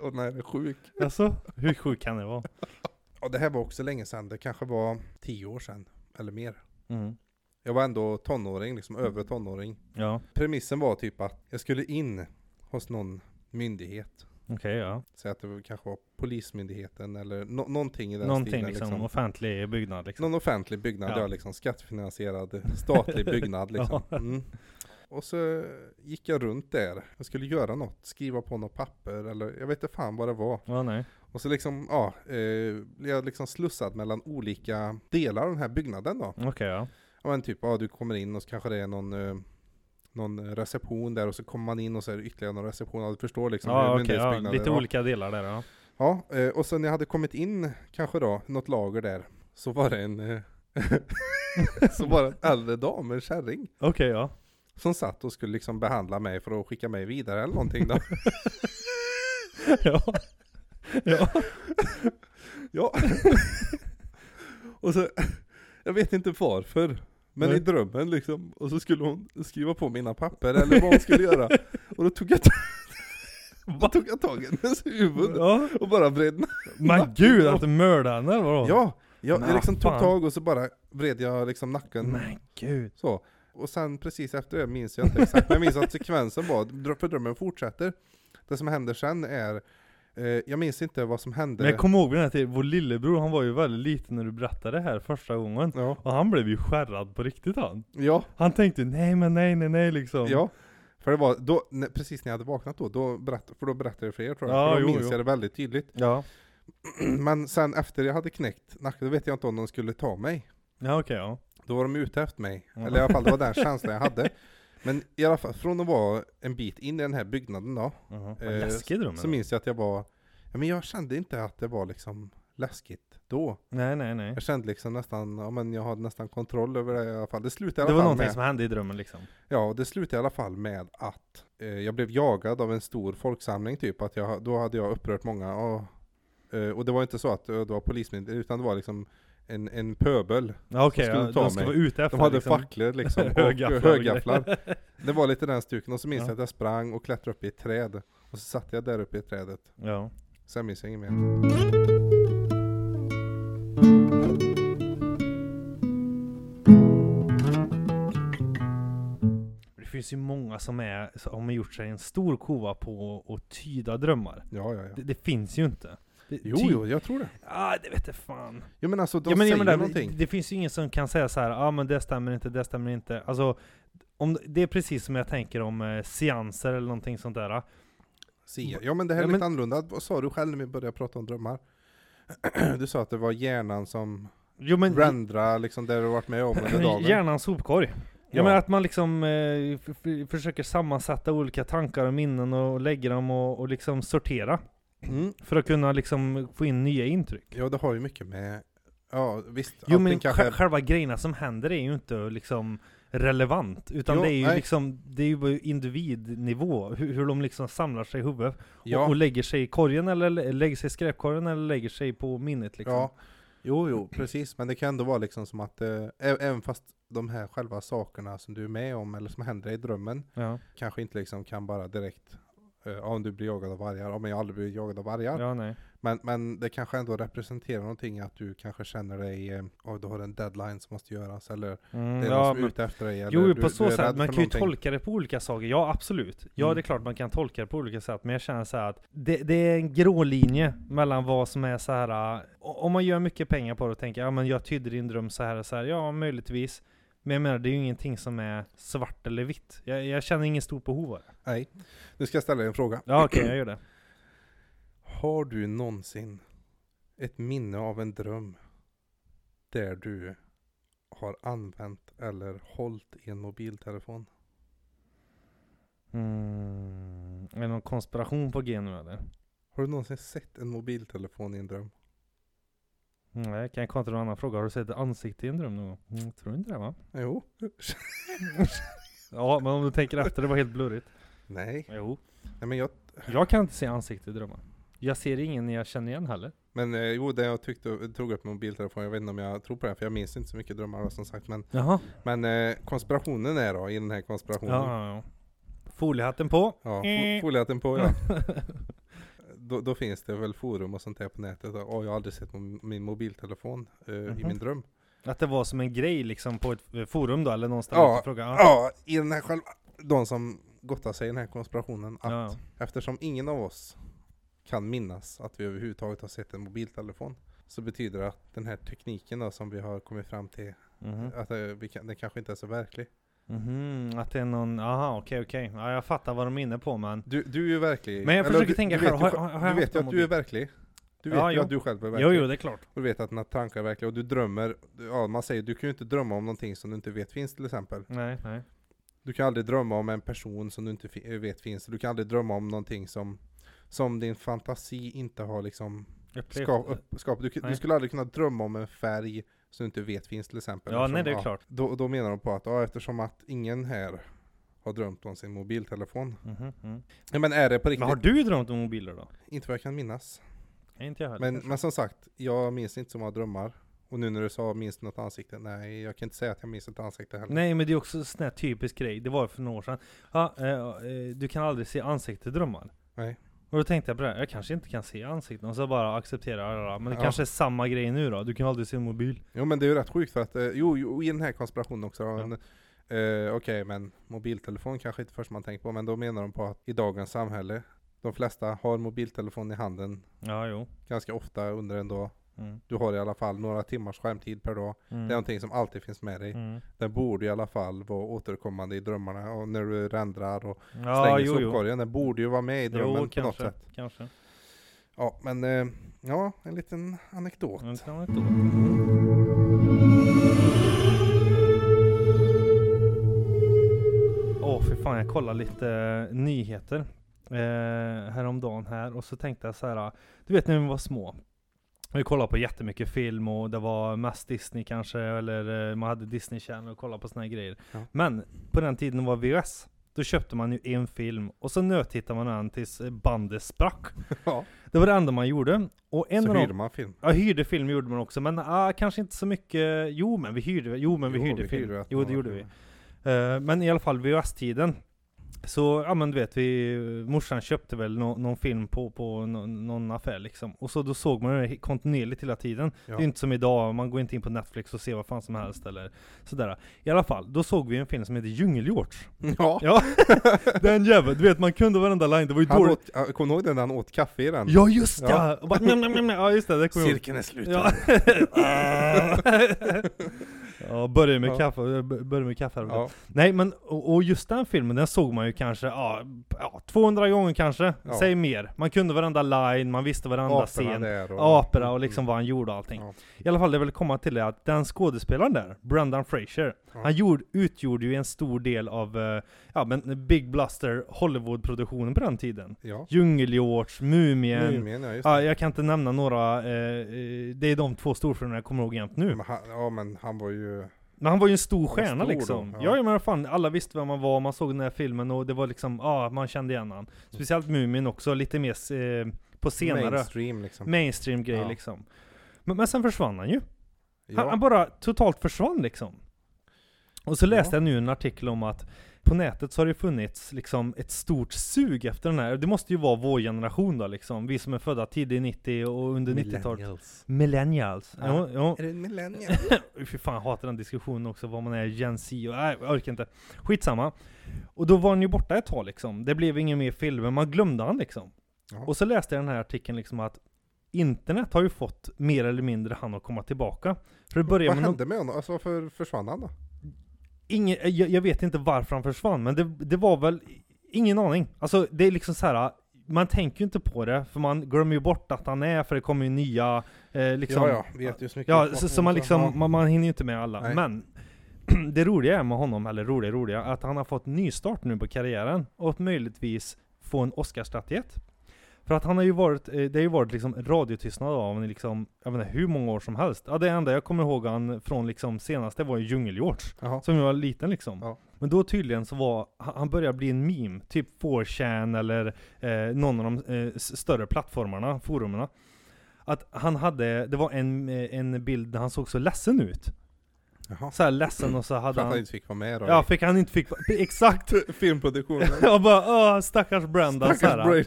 S2: Och den här är sjuk.
S1: Alltså, hur sjuk kan det vara?
S2: Och det här var också länge sedan, det kanske var tio år sedan, eller mer.
S1: Mm.
S2: Jag var ändå tonåring, liksom övre tonåring.
S1: Ja,
S2: Premissen var typ att jag skulle in hos någon myndighet.
S1: okej ja.
S2: Säg att det var- kanske var polismyndigheten eller nå- någonting i den
S1: Någonting
S2: stilen.
S1: liksom, offentlig byggnad liksom.
S2: Någon offentlig byggnad,
S1: Ja.
S2: ja. liksom skattfinansierad statlig byggnad liksom. Mm. Och så gick jag runt där, jag skulle göra något, skriva på något papper eller jag vet inte fan vad det var.
S1: Ja, nej.
S2: Och så liksom, ja, eh, blev jag liksom slussad mellan olika delar av den här byggnaden då.
S1: Okej ja.
S2: Ja men typ, ja du kommer in och så kanske det är någon, eh, någon reception där och så kommer man in och så är det ytterligare någon reception. Ja, du förstår liksom
S1: ja, okej, ja.
S2: myndighetsbyggnader
S1: Lite
S2: var.
S1: olika delar där ja.
S2: Ja, eh, och sen när jag hade kommit in kanske då, något lager där, så var det en eh, så var det en äldre dam, en kärring,
S1: Okej ja.
S2: som satt och skulle liksom behandla mig för att skicka mig vidare eller någonting då.
S1: ja. Ja.
S2: ja. och så, jag vet inte varför, men
S1: Nej.
S2: i drömmen liksom, och så skulle hon skriva på mina papper eller vad hon skulle göra. Och då tog jag, då tog jag tag i hennes huvud
S1: ja.
S2: och bara vred
S1: Men gud att du mördade henne eller vadå?
S2: Ja, jag,
S1: Men
S2: jag liksom tog
S1: fan.
S2: tag och så bara vred jag liksom nacken.
S1: Men gud.
S2: Så. Och sen precis efter det minns jag inte exakt, men jag minns att sekvensen var, dr- för drömmen fortsätter. Det som händer sen är, eh, jag minns inte vad som hände.
S1: Men jag kommer ihåg vid den här tiden, vår lillebror han var ju väldigt liten när du berättade det här första gången.
S2: ja,
S1: Och han blev ju skärrad på riktigt han.
S2: ja,
S1: Han tänkte nej men nej nej nej liksom.
S2: ja. För det var då, när, precis när jag hade vaknat då, då berätt, för då berättade jag för er tror jag.
S1: Ja,
S2: för då
S1: jo,
S2: minns
S1: jo.
S2: jag det väldigt tydligt.
S1: Ja.
S2: Men sen efter jag hade knäckt nacken, då vet jag inte om de skulle ta mig.
S1: Ja okej ja.
S2: Då var de ute efter mig.
S1: Ja.
S2: Eller i alla fall, det var den känslan jag hade. Men i alla fall, från att vara en bit in i den här byggnaden då,
S1: Jaha. Vad
S2: Eh,
S1: läskig drömmen.
S2: så minns jag att jag var Ja, men jag kände inte att det var liksom läskigt då.
S1: Nej, nej, nej.
S2: Jag kände liksom nästan, ja men jag hade nästan kontroll över det i alla fall. Det slutade i
S1: Det
S2: alla
S1: var
S2: fall
S1: någonting
S2: med,
S1: som hände i drömmen liksom.
S2: ja, och det slutade i alla fall med att eh, jag blev jagad av en stor folksamling typ. Att jag, då hade jag upprört många. Och, eh, och det var inte så att eh, det var polismyndigheten, utan det var liksom en, en pöbel.
S1: Ja, Okej,
S2: skulle
S1: ja,
S2: ta
S1: de ska
S2: mig.
S1: vara ute efter
S2: De hade
S1: liksom.
S2: facklor liksom, och
S1: Högafflar och
S2: högafflar. Det var lite den stuken, och så minns
S1: Ja.
S2: jag att jag sprang och klättrade upp i ett träd. Och så satt jag där uppe i trädet.
S1: Ja.
S2: Sen minns jag inget mer.
S1: Det finns ju många som är, som har gjort sig en stor kova på att tyda drömmar.
S2: Ja, ja, ja.
S1: Det, det finns ju inte. Det,
S2: Jo,
S1: ty-
S2: jo, jag tror det.
S1: Ah, det vet jag fan.
S2: Jo men alltså, de
S1: ja, men,
S2: säger
S1: ja, men det,
S2: någonting.
S1: det finns ju ingen som kan säga så här, ja ah, men det stämmer inte, det stämmer inte. Alltså, om, det är precis som jag tänker om eh, seanser eller någonting sånt där. ah.
S2: Sia. Ja men det här är
S1: Ja,
S2: lite
S1: men-
S2: annorlunda. Vad sa du själv när vi började prata om drömmar? Du sa att det var hjärnan som
S1: Jo men,
S2: rendra liksom det du varit med om under dagen.
S1: hjärnans sopkorg. Ja,
S2: Ja.
S1: men att man liksom eh, f- f- försöker sammansätta olika tankar och minnen och lägga dem och, och liksom sortera.
S2: Mm.
S1: För att kunna liksom få in nya intryck.
S2: Ja det har ju mycket med, ja visst.
S1: Jo
S2: allting
S1: men
S2: kanske-
S1: kanske... själva grejerna som händer är ju inte liksom relevant. Utan
S2: Jo,
S1: det är ju
S2: nej.
S1: liksom, det är ju på individnivå. Hur, hur de liksom samlar sig i huvudet. Och,
S2: ja,
S1: och lägger sig i korgen eller lä- lägger sig i skräpkorgen eller lägger sig på minnet liksom.
S2: ja. Jo jo, precis. Men det kan ändå vara liksom som att, eh, ä- även fast de här själva sakerna som du är med om eller som händer i drömmen
S1: Ja,
S2: kanske inte liksom kan bara direkt, eh, ja, om du blir jagad av vargar, ja men jag har aldrig blivit jagad av vargar.
S1: ja nej.
S2: Men, men det kanske ändå representerar någonting att du kanske känner dig, eh, oh, du har en deadline som måste göras eller
S1: Mm,
S2: det är
S1: ja,
S2: någon som är
S1: men,
S2: ute efter dig. Eller
S1: jo
S2: du,
S1: på
S2: du
S1: så
S2: är
S1: sätt,
S2: rädd
S1: man kan
S2: för
S1: ju
S2: någonting.
S1: tolka det på olika saker. Ja absolut. Ja
S2: Mm.
S1: det är klart man kan tolka det på olika sätt. Men jag känner så här att det, det är en grå linje mellan vad som är så här. äh, o- Om man gör mycket pengar på det och tänker ja men jag tydde din dröm så här och så här. Ja möjligtvis. Men jag menar det är ju ingenting som är svart eller vitt. Jag, jag känner ingen stort behov av det.
S2: Nej. Nu ska jag ställa dig en fråga.
S1: Ja okej jag gör det.
S2: Har du någonsin ett minne av en dröm där du har använt eller hållit i en mobiltelefon?
S1: Mm. Är det någon konspiration på G nu eller?
S2: Har du någonsin sett en mobiltelefon i en dröm?
S1: Nej, kan jag kontra en annan fråga? Har du sett ett ansikte i en dröm någon gång? Mm, tror inte det va?
S2: Jo.
S1: Ja, men om du tänker efter, det var helt blurrigt.
S2: Nej.
S1: Jo.
S2: Nej men jag,
S1: Jag kan inte se ansikte i drömmar. Jag ser ingen jag känner igen heller.
S2: men eh, jo, det jag tyckte, tog upp mobiltelefon, jag vet inte om jag tror på det, för jag minns inte så mycket drömmar som sagt. Men
S1: Jaha.
S2: Men eh, konspirationen är då, i den här
S1: Ja,
S2: konspirationen. Ja.
S1: ja, ja. Foliehatten på.
S2: fo-
S1: Eh.
S2: foliehatten på ja. då, då finns det väl forum och sånt där på nätet. Åh, jag har aldrig sett mo- min mobiltelefon eh, i
S1: Mhm.
S2: min dröm.
S1: Att det var som en grej liksom på ett eh, forum då, eller någonstans.
S2: Ja.
S1: ute Fråga. Ja.
S2: Ja, i den här själva, de som gottar sig i den här konspirationen. Att
S1: Ja.
S2: eftersom ingen av oss kan minnas att vi överhuvudtaget har sett en mobiltelefon. Så betyder det att den här tekniken då, som vi har kommit fram till,
S1: Mhm.
S2: att eh, vi kan, den kanske inte är så verklig.
S1: Mhm. Att det är någon, aha okej okej. Ja, jag fattar vad de är inne på men.
S2: Du, du är ju verklig.
S1: Men jag försöker
S2: du,
S1: tänka
S2: du vet,
S1: själv,
S2: ju
S1: har-
S2: själv-
S1: har- har jag
S2: du vet
S1: haft
S2: ju
S1: en
S2: att du är verklig. Du vet
S1: Ja,
S2: ju
S1: jo.
S2: att du själv är verklig.
S1: Jo, jo det är klart.
S2: Och du vet att dina tankar är verkliga. Och du drömmer, ja man säger, du kan ju inte drömma om någonting som du inte vet finns till exempel.
S1: Nej, nej.
S2: Du kan aldrig drömma om en person som du inte fi- eh, vet finns. Du kan aldrig drömma om någonting som, som din fantasi inte har liksom
S1: Upplevt.
S2: ska, upp, skapat. Du, kan- du
S1: Nej.
S2: skulle aldrig kunna drömma om en färg som du inte vet finns till exempel.
S1: Ja,
S2: Eftersom,
S1: nej det är klart.
S2: Då, då menar de på att, ja eftersom att ingen här har drömt om sin mobiltelefon.
S1: Mhm, mm.
S2: Ja, men är det på riktigt?
S1: Men har du drömt om mobiler då?
S2: Inte vad jag kan minnas.
S1: Nej, inte jag heller.
S2: Men, men som sagt, jag minns inte så många drömmar. Och nu när du sa minns du något ansikte? Nej, jag kan inte säga att jag minns ett ansikte heller.
S1: Nej men det är också en sån här typisk grej, det var för några år sedan. Ja, eh, eh, du kan aldrig se ansikte i drömmar.
S2: Nej.
S1: Och då tänkte jag på det, här, jag kanske inte kan se ansikten, och så bara acceptera det då. Men det
S2: Ja.
S1: kanske är samma grej nu då, du kan aldrig se en mobil.
S2: Jo men det är ju rätt sjukt för att, eh, jo, jo i den här konspirationen också. men, eh, Okej, men mobiltelefon kanske inte först man tänker på, men då menar de på att i dagens samhälle, de flesta har mobiltelefon i handen
S1: Ja, jo.
S2: ganska ofta under en dag.
S1: Mm.
S2: Du har i alla fall några timmars skärmtid per dag. Det är
S1: Mm.
S2: någonting som alltid finns med dig.
S1: Mm.
S2: Den borde i alla fall vara återkommande i drömmarna och när du rendrar och
S1: Ja,
S2: slänger
S1: jo, jo.
S2: sopkorgen. Den borde ju vara med i drömmen
S1: Jo,
S2: på något
S1: kanske.
S2: sätt.
S1: Kanske.
S2: Ja, men eh, ja, en liten anekdot.
S1: Men kan man inte- Åh, för fan, jag kollar lite eh, nyheter. eh, häromdagen här och så tänkte jag så här. ah, Du vet när vi var små. Vi kollade på jättemycket film och det var mest Disney kanske, eller eh, man hade Disney Channel och kollade på såna här grejer.
S2: Ja.
S1: Men på den tiden det var VHS. Då köpte man ju en film och så nöttittade man den tills eh, bandet sprack.
S2: Ja.
S1: Det var det enda man gjorde. Och en
S2: så
S1: av de-
S2: hyrde man film.
S1: Ja, hyrde film gjorde man också, men ah, kanske inte så mycket. Jo, men vi hyrde, jo, men vi
S2: Jo,
S1: hyrde film.
S2: hyrde att
S1: jo,
S2: man-
S1: det gjorde vi. Eh, men i alla fall VHS-tiden. Så, ja men du vet, vi, morsan köpte väl nå- någon film på, på nå- någon affär liksom. Och så då såg man det kontinuerligt hela tiden.
S2: Ja.
S1: Det är inte som idag, man går inte in på Netflix och ser vad fan som helst eller sådär. I alla fall, då såg vi en film som heter Djungeljorts.
S2: Ja.
S1: Ja, den jäveln, du vet man kunde varenda line, det var ju
S2: Han
S1: dåligt.
S2: åt, jag kommer ihåg den när han åt kaffe i den?
S1: Ja just ja!
S2: Ja.
S1: ja. Och bara, njam, njam, njam, njam. ja just det, det kommer jag ihåg.
S2: Cirkeln är slut.
S1: Ja. ja, börja med
S2: Ah. Ja.
S1: kaffe, börja med kaffe.
S2: Ja.
S1: Nej men, och, och just den filmen, den såg man ju kanske, ja, ja 200 gånger kanske,
S2: Ja.
S1: säg mer. Man kunde varenda line, man visste varenda
S2: Aporna
S1: scen.
S2: där och... Mm.
S1: Aporna och liksom vad han gjorde och allting.
S2: Ja.
S1: I alla fall det jag ville komma till är att den skådespelaren där, Brendan Fraser,
S2: Ja.
S1: han gjorde, utgjorde ju en stor del av, eh, ja men Big Bluster Hollywood-produktionen på den tiden.
S2: Mm. Ja.
S1: Djungeljorts, Mumien,
S2: Mumien, ja just
S1: Ja,
S2: det.
S1: jag kan inte nämna några, eh, eh, det är de två storfilmerna jag kommer ihåg jämt nu.
S2: Men han, ja men han var ju...
S1: Men han var ju en stor
S2: Han var
S1: stjärna
S2: stor då,
S1: liksom.
S2: ja.
S1: Ja. men fan, alla visste vem han var, man såg den här filmen och det var liksom, ja man kände igen
S2: Mm.
S1: han. Speciellt Mumin också, lite mer eh, på senare
S2: Mainstream liksom.
S1: mainstream-grej
S2: Ja.
S1: liksom. Men, men sen försvann han ju. Han,
S2: ja.
S1: han bara totalt försvann liksom. Och så läste
S2: Ja.
S1: jag nu en artikel om att på nätet så har det funnits liksom ett stort sug efter den här, det måste ju vara vår generation då liksom, vi som är födda tidigt 90 och under 90-talet.
S2: Millennials.
S1: Millennials.
S2: Ja.
S1: Jo,
S2: Är det en millennial?
S1: jo. Fy fan, jag hatar den diskussionen också, vad man är, Gen Z och... Nej, jag orkar inte. Skitsamma. Och då var han ju borta ett tag liksom. Det blev ingen mer filmer, man glömde han liksom.
S2: Ja.
S1: Och så läste jag den här artikeln liksom att internet har ju fått mer eller mindre han att komma tillbaka. För det började
S2: Vad
S1: med någon,
S2: hände med honom? Alltså varför försvann han då?
S1: ingen, jag, jag vet inte varför han försvann, men det, det var väl... Ingen aning. Alltså det är liksom så här. Man tänker ju inte på det, för man glömmer ju bort att han är, för det kommer ju nya... Eh, liksom,
S2: ja, ja, vet ju så mycket.
S1: Ja, så,
S2: information
S1: så man liksom,
S2: Ja.
S1: man, man hinner ju inte med alla.
S2: Nej.
S1: Men det roliga är med honom, eller roliga roliga, att han har fått nystart nu på karriären och möjligtvis få en Oscarsstatyett. För att han har ju varit, eh, det har ju varit liksom radiotystnad av honom i liksom, jag vet inte hur många år som helst. Ja, det enda jag kommer ihåg han från liksom senaste var ju Djungeljorts,
S2: Jaha.
S1: som jag var liten liksom.
S2: Ja.
S1: Men då tydligen så var, han han började bli en meme, typ 4chan eller eh, någon av de eh, s- större plattformarna, forumerna. Att han hade, det var en, eh, en bild där han såg så ledsen ut.
S2: Jaha.
S1: Så här ledsen och så
S2: För att
S1: hade
S2: han
S1: han...
S2: inte fick vara med då.
S1: Ja, fick han inte fick... Exakt!
S2: Filmproduktionen.
S1: Jag bara Åh, stackars Brenda så
S2: Stackars
S1: här.
S2: Brady.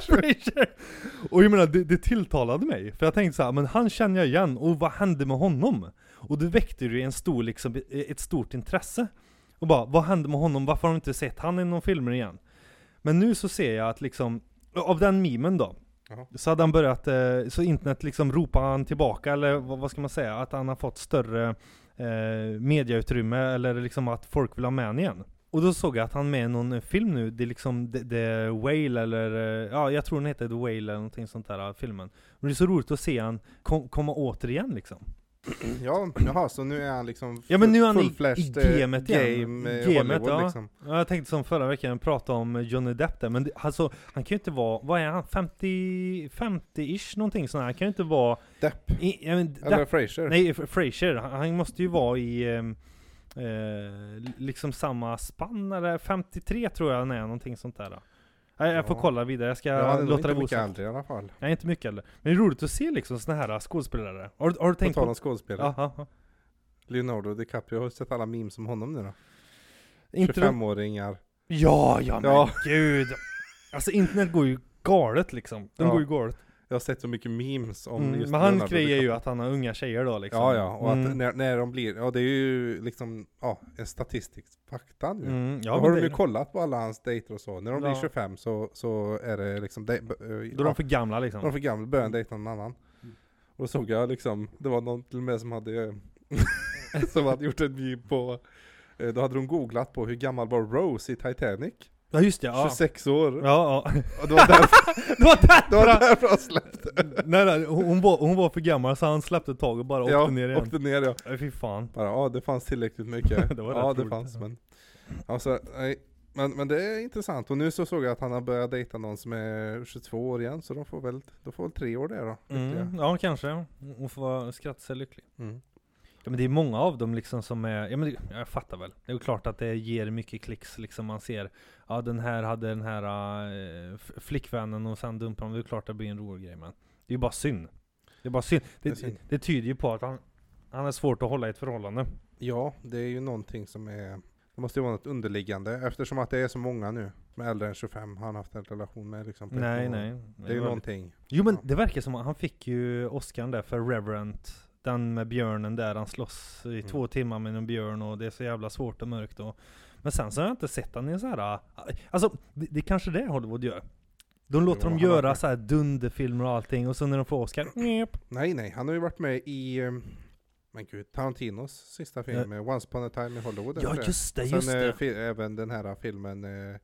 S1: Frasier. Och jag menar, det, det tilltalade mig. För jag tänkte så här, men han känner jag igen, och vad hände med honom? Och det väckte ju en stor, liksom, ett stort intresse. Och bara, vad hände med honom? Varför har de inte sett han i någon filmer igen? Men nu så ser jag att liksom, av den mimen då,
S2: Jaha.
S1: så hade han börjat, eh, så internet liksom ropar han tillbaka, eller vad, vad ska man säga? Att han har fått större eh, mediautrymme, eller liksom att folk vill ha med honom igen. Och då såg jag att han är med i någon film nu, det är liksom The, The Whale eller, eh, ja jag tror den heter The Whale eller någonting sånt där, eh, filmen. Men det är så roligt att se han kom, komma återigen liksom.
S2: Ja, jaha, så nu är han liksom
S1: Ja, men nu är han i-
S2: full-fledged,
S1: i
S2: eh,
S1: gamet igen.
S2: game, eh,
S1: Gamet,
S2: Hollywood,
S1: ja.
S2: liksom.
S1: Ja, jag tänkte som förra veckan, prata om Johnny Depp där, men det, alltså, han kan ju inte vara, vad är han, 50, 50-ish någonting sånt här. Han kan ju inte vara...
S2: Depp.
S1: I, jag men,
S2: Eller
S1: Depp
S2: Frasier.
S1: nej, F- Frasier, han, han måste ju vara i ehm, eh, liksom samma spann, eller 53 tror jag han är, någonting sånt där. Jag, jag får
S2: Ja.
S1: kolla vidare, jag ska
S2: ja, han är nog
S1: låta
S2: inte
S1: det vara
S2: mycket
S1: osagt.
S2: äldre i alla fall.
S1: Nej, inte mycket heller. Men det är roligt att se liksom såna här skådespelare. Har, du- har du
S2: På
S1: tänkt
S2: tal om
S1: på...
S2: skådespelare.
S1: Ja, ja, ja.
S2: Leonardo DiCaprio, har du sett alla memes om honom nu då?
S1: Inte de-
S2: 25-åringar.
S1: Ja, ja men
S2: Ja.
S1: gud. Alltså internet går ju galet liksom. De
S2: Ja,
S1: går ju galet.
S2: Jag har sett så mycket memes om
S1: Mm,
S2: just
S1: men han
S2: Leonardo
S1: grejer ju
S2: DiCaprio.
S1: att han har unga tjejer då liksom.
S2: Ja, ja, och att
S1: Mm,
S2: när, när de blir, ja det är ju liksom, ja, en statistisk fakta nu.
S1: mm, ja,
S2: Då
S1: men
S2: har de
S1: det-
S2: ju kollat på alla hans dejter och så. När de
S1: Ja.
S2: blir 25 så, så är det liksom, de, b- eh,
S1: Då
S2: ja,
S1: är de för gamla liksom.
S2: de för gamla, börjar dejta någon annan.
S1: Mm.
S2: Och då såg jag liksom, det var någon till och med som hade, som hade gjort en ny på, eh, då hade de googlat på hur gammal var Rose i Titanic?
S1: Ja just det, ja.
S2: 26 år.
S1: Ja, ja.
S2: Och det var därför,
S1: Det var
S2: det var
S1: därför!
S2: därför han släppte.
S1: nej, nej, hon, hon var, hon var för gammal så han släppte tag och bara åkte
S2: Ja,
S1: ner igen.
S2: åkte ner ja.
S1: Åkte. Fy fan.
S2: Bara, ja det fanns tillräckligt mycket.
S1: Det var
S2: ja
S1: rätt
S2: det
S1: roligt,
S2: fanns
S1: ja.
S2: men. Alltså, nej. Men, men det är intressant. Och nu så såg jag att han har börjat dejta någon som är 22 år igen. Så de får väl, de får väl tre år där då.
S1: Mm,
S2: ytterligare.
S1: ja, kanske. Hon får vara- skratta sig lycklig.
S2: Mm.
S1: Ja, men det är många av dem liksom som är, ja men det, jag fattar väl. Det är ju klart att det ger mycket klicks liksom. Man ser, ja den här hade den här eh, f- flickvännen och sen dumpade hon. Det är klart det blir en rolig grej men. Det är ju bara synd. Det är bara synd. Det,
S2: Det är synd.
S1: det tyder ju på att han, han är svårt att hålla i ett förhållande.
S2: Ja, det är ju någonting som är... Det måste ju vara något underliggande eftersom att det är så många nu som är äldre än 25 har han haft en relation med liksom. på ett
S1: Nej
S2: år.
S1: nej.
S2: Det är ju
S1: var-
S2: någonting.
S1: Jo men
S2: Ja.
S1: det verkar som att han fick ju Oscar där för Reverent. Den med björnen där han slåss i
S2: Mm.
S1: två timmar med en björn och det är så jävla svårt och mörkt och... Men sen så har jag inte sett han i så här. äh, Alltså det, det är kanske det Hollywood gör. De låter
S2: Jo,
S1: dem
S2: han
S1: göra
S2: verkar-
S1: så här dunderfilmer och allting och sen när de får Oscar, njep.
S2: Nej, nej. Han har ju varit med i... eh, Men gud, Tarantinos sista film, eh, Once upon a time in Hollywood. eller
S1: Ja
S2: det?
S1: just det,
S2: Sen
S1: just
S2: eh,
S1: det.
S2: fi- även den här filmen eh,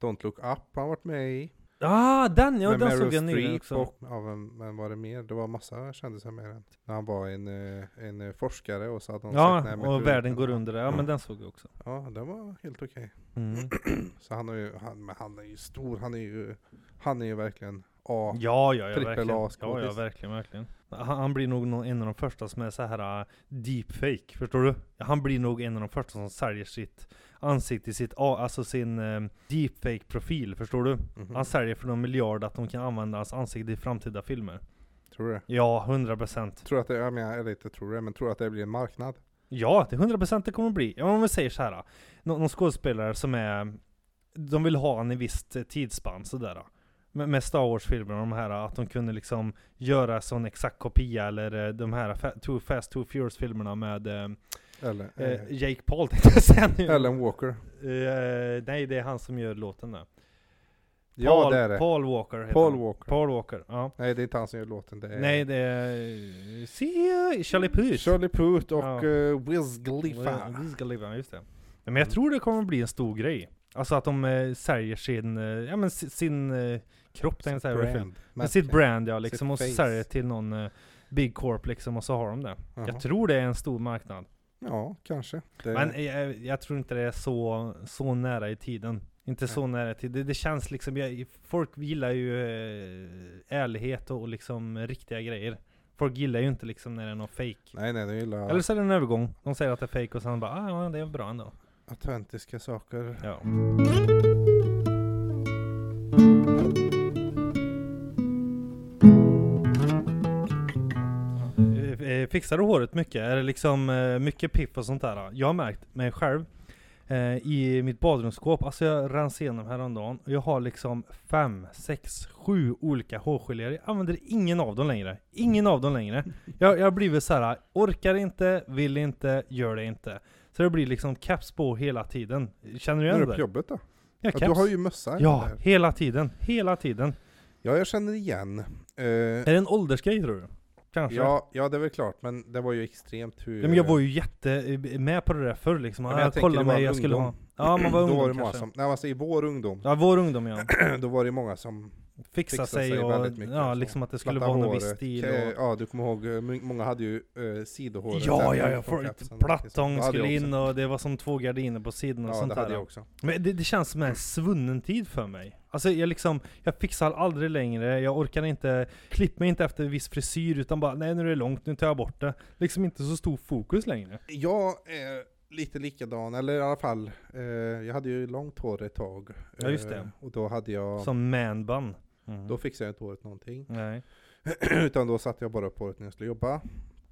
S2: Don't look up har han varit med i.
S1: Ah den, ja
S2: med
S1: den
S2: Meryl
S1: såg jag nyligen
S2: Streep
S1: också.
S2: Och, ja, men, men var det mer? Det var massa kändisar med den. När han var en, eh, en eh, forskare och Mm. så hade han
S1: Ja,
S2: sagt, "Nej, men
S1: och
S2: hur
S1: världen
S2: kan
S1: går
S2: han?"
S1: under. Ja
S2: Ja.
S1: men den såg jag också.
S2: Ja, det var helt okej.
S1: Mm.
S2: Så han, har ju, han, men han är ju stor, han är ju, han är ju verkligen A.
S1: Ja, ja, ja
S2: Trippel
S1: verkligen. Ja,
S2: A-skådis.
S1: ja, verkligen, verkligen. Han, han blir nog någon- en av de första som är så här äh, deepfake, förstår du? Han blir nog en av de första som säljer sitt ansikte, sitt, A- alltså sin eh, deepfake-profil, förstår du?
S2: Mhm.
S1: Han säljer för någon miljard att de kan använda hans ansikte i framtida filmer.
S2: Tror du det?
S1: Ja, 100%.
S2: Tror att det, jag menar, eller inte tror det, men tror att det blir en marknad?
S1: Ja, det är 100% det kommer att bli. Ja, om vi säger så här. Någon, någon skådespelare som är... De vill ha en i visst eh, tidsspann sådär. Med, med Star Wars-filmerna de här, att de kunde liksom göra sån exakt kopia eller eh, de här Fa- Too Fast Too Furious-filmerna med eh,
S2: Eller,
S1: eh,
S2: eh,
S1: Jake Paul tänkte jag säga nu.
S2: Ellen Walker?
S1: Eh, nej, det är han som gör låten där.
S2: ja
S1: Paul,
S2: det är det. Paul,
S1: Paul Walker heter han.
S2: Walker.
S1: Paul Walker, ja.
S2: Nej det är inte han som gör låten, det är
S1: Nej, det är... eh, See you, Charlie Puth.
S2: Shirley Puth och
S1: Ja.
S2: eh, Wiz Khalifa.
S1: Ja, Vi ska leva, just det. Men
S2: Mm.
S1: jag tror det kommer att bli en stor grej. Alltså att de eh, säljer sin, eh, ja men si- sin eh, kropp tänkte jag säga. vad är det för- Men
S2: Märke.
S1: sitt brand ja liksom,
S2: Sitt
S1: och så
S2: face.
S1: säljer det till någon eh, Big Corp liksom, och så har de det.
S2: Jaha.
S1: Jag tror det är en stor marknad.
S2: Ja, kanske. Det,
S1: Men eh, jag, jag tror inte det är så, så nära i tiden. Inte så
S2: Nej.
S1: nära i tiden. Det, det känns liksom, jag, folk gillar ju eh, ärlighet och, och liksom riktiga grejer. Folk gillar ju inte liksom när det är någon fake.
S2: nej, nej, det gillar
S1: Eller så är det en övergång. De säger att det är fake och sen bara ah, ja, det är bra ändå.
S2: autentiska saker.
S1: Ja. Eh, eh, Fixar du håret mycket? Är det liksom eh, mycket piff och sånt där? Jag har märkt mig själv eh, i mitt badrumsskåp, alltså jag rensade igenom häromdagen och jag har liksom fem, sex, sju olika hårgeléer. Jag använder ingen av dem längre. Ingen av dem längre. Jag, jag har blivit så här, orkar inte, vill inte, gör det inte. Så det blir liksom caps på hela tiden. Känner du
S2: Nu är
S1: igen
S2: du på
S1: det?
S2: jobbet då?
S1: Ja,
S2: Ja, du
S1: caps.
S2: har ju mössa.
S1: Ja,
S2: där.
S1: hela tiden. Hela tiden.
S2: ja, jag känner igen. Eh,
S1: Är det en åldersgrej tror du? Kanske?
S2: Ja, ja, det är väl klart, men det var ju extremt hur...
S1: Ja, Men jag var ju jätte eh, med på det där förr liksom.
S2: Ja,
S1: Ja,
S2: men
S1: jag
S2: tänker
S1: kollade
S2: det var
S1: mig,
S2: en
S1: jag skulle ha...
S2: ungdom.
S1: Ja, man var
S2: då var det
S1: ungdom
S2: många
S1: kanske.
S2: som, nej alltså i vår ungdom,
S1: Ja, vår ungdom ja.
S2: då var det många som
S1: Fixa
S2: Fixa
S1: sig,
S2: sig
S1: och...
S2: väldigt mycket,
S1: Ja,
S2: så.
S1: liksom att det skulle
S2: plattade
S1: vara någon
S2: håret.
S1: viss stil
S2: Ke-
S1: och...
S2: Ja, du kommer ihåg, eh, my- många hade ju eh, sidohåret.
S1: Ja,
S2: där
S1: ja, ja.
S2: på
S1: folk-
S2: kapsen.
S1: Plattång
S2: Det hade jag
S1: skulle
S2: också.
S1: in och det var som två gardiner på sidorna och
S2: Ja,
S1: sånt
S2: det
S1: där.
S2: hade jag också.
S1: Men det, det känns som en
S2: Mm.
S1: svunnen tid för mig. Alltså jag liksom, jag fixar aldrig längre, jag orkar inte, klipp mig inte efter en viss frisyr utan bara nej nu är det långt, nu tar jag bort det. Liksom inte så stor fokus längre.
S2: Jag är lite likadan, eller i alla fall, eh, jag hade ju långt hår ett tag.
S1: Ja, just det.
S2: Eh, och då hade jag,
S1: Som manbun. Mm.
S2: då fixade jag inte håret någonting.
S1: Nej.
S2: Utan då satte jag bara upp håret när jag skulle jobba.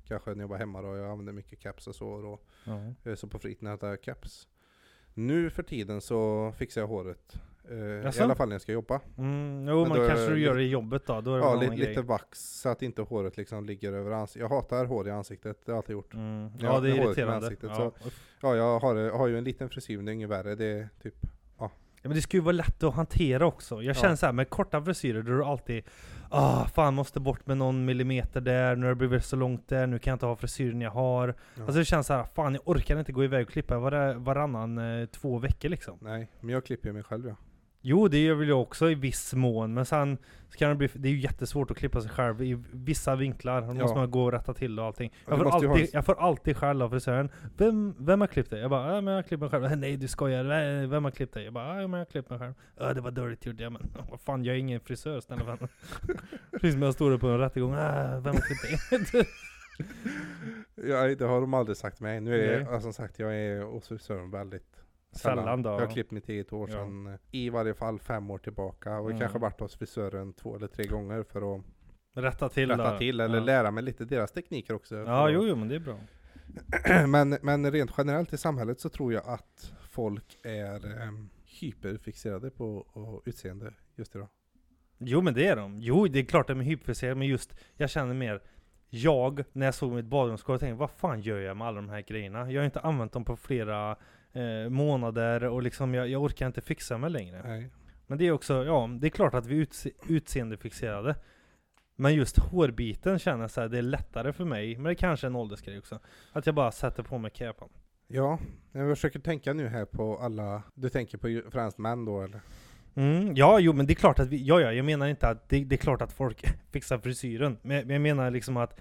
S2: Kanske när jag var hemma då, jag använde mycket caps och så. Och,
S1: Ja.
S2: eh, så på fritiden hade jag caps. Nu för tiden så fixar jag håret. Eh, I
S1: Jaså?
S2: alla fall när jag ska jobba.
S1: Mm, jo
S2: Men
S1: men
S2: då är
S1: kanske
S2: det
S1: du gör
S2: lite-
S1: det i jobbet då, då är det
S2: Ja,
S1: väl en
S2: lite,
S1: annan
S2: lite
S1: grej.
S2: vax så att inte håret liksom ligger över ansiktet. Jag hatar hår i ansiktet, det har jag alltid gjort.
S1: Mm. Ja,
S2: Ja,
S1: det är
S2: med håret med
S1: irriterande.
S2: ansiktet,
S1: Ja.
S2: Ja, jag har, jag har ju en liten frisyr, men det är inget värre. Det är typ
S1: Ja, men det ska ju vara lätt att hantera också. Jag
S2: Ja.
S1: känner så här med korta frisyrer, då är du alltid Ah, fan måste bort med någon millimeter där, nu har det blivit så långt där, nu kan jag inte ha frisyren jag har. Alltså det känns så här, fan jag orkar inte gå iväg och klippa var, varannan eh, två veckor liksom.
S2: Nej, men jag klipper ju mig själv ja.
S1: Jo, det gör väl jag också i viss mån, men sen så kan det bli, det är ju jättesvårt att klippa sig själv i vissa vinklar, då
S2: Ja.
S1: måste man gå och rätta till och allting.
S2: du
S1: Jag får,
S2: måste ju ha
S1: alltid,
S2: en-
S1: jag får alltid skäll av frisören. Vem, vem har klippt dig? Jag bara, äh, men jag har klippt mig själv. Äh, nej du skojar, Nej, vem har klippt dig? Jag bara, äh, men jag har klippt mig själv. Äh, det var dåligt gjort, ja men vad fan jag är ingen frisör snälla vän. Precis som jag stod där på en rättegång, äh, vem har klippt dig?
S2: Ja, det har de aldrig sagt till mig. Nu är
S1: Nej.
S2: jag, som sagt, jag är hos frisören väldigt
S1: Sällan då.
S2: Jag har klippt mig tio år
S1: Ja.
S2: sedan, eh, i varje fall fem år tillbaka. Och
S1: Mm.
S2: jag kanske varit hos frisören två eller tre gånger för att
S1: Rätta till
S2: rätta
S1: då.
S2: till eller
S1: ja.
S2: lära mig lite deras tekniker också.
S1: Ja, jo, jo men det är bra.
S2: men, men rent generellt i samhället så tror jag att folk är em, hyperfixerade på och utseende just idag.
S1: Jo men det är de. Jo det är klart de är hyperfixerade men just jag känner mer jag, när jag såg mitt badrumsskåp, jag tänkte vad fan gör jag med alla de här grejerna? Jag har inte använt dem på flera eh, månader och liksom jag, jag orkar inte fixa mig längre.
S2: Nej.
S1: Men det är också, ja det är klart att vi är utse, utseendefixerade. Men just hårbiten känner jag så här, det är lättare för mig, men det kanske är en åldersgrej också. Att jag bara sätter på mig capen.
S2: Ja, jag försöker tänka nu här på alla, du tänker på ju- främst män då eller?
S1: Mm, ja, jo men det är klart att vi, ja, ja, jag menar inte att det, det är klart att folk fixar frisyren. Men jag- men jag menar liksom att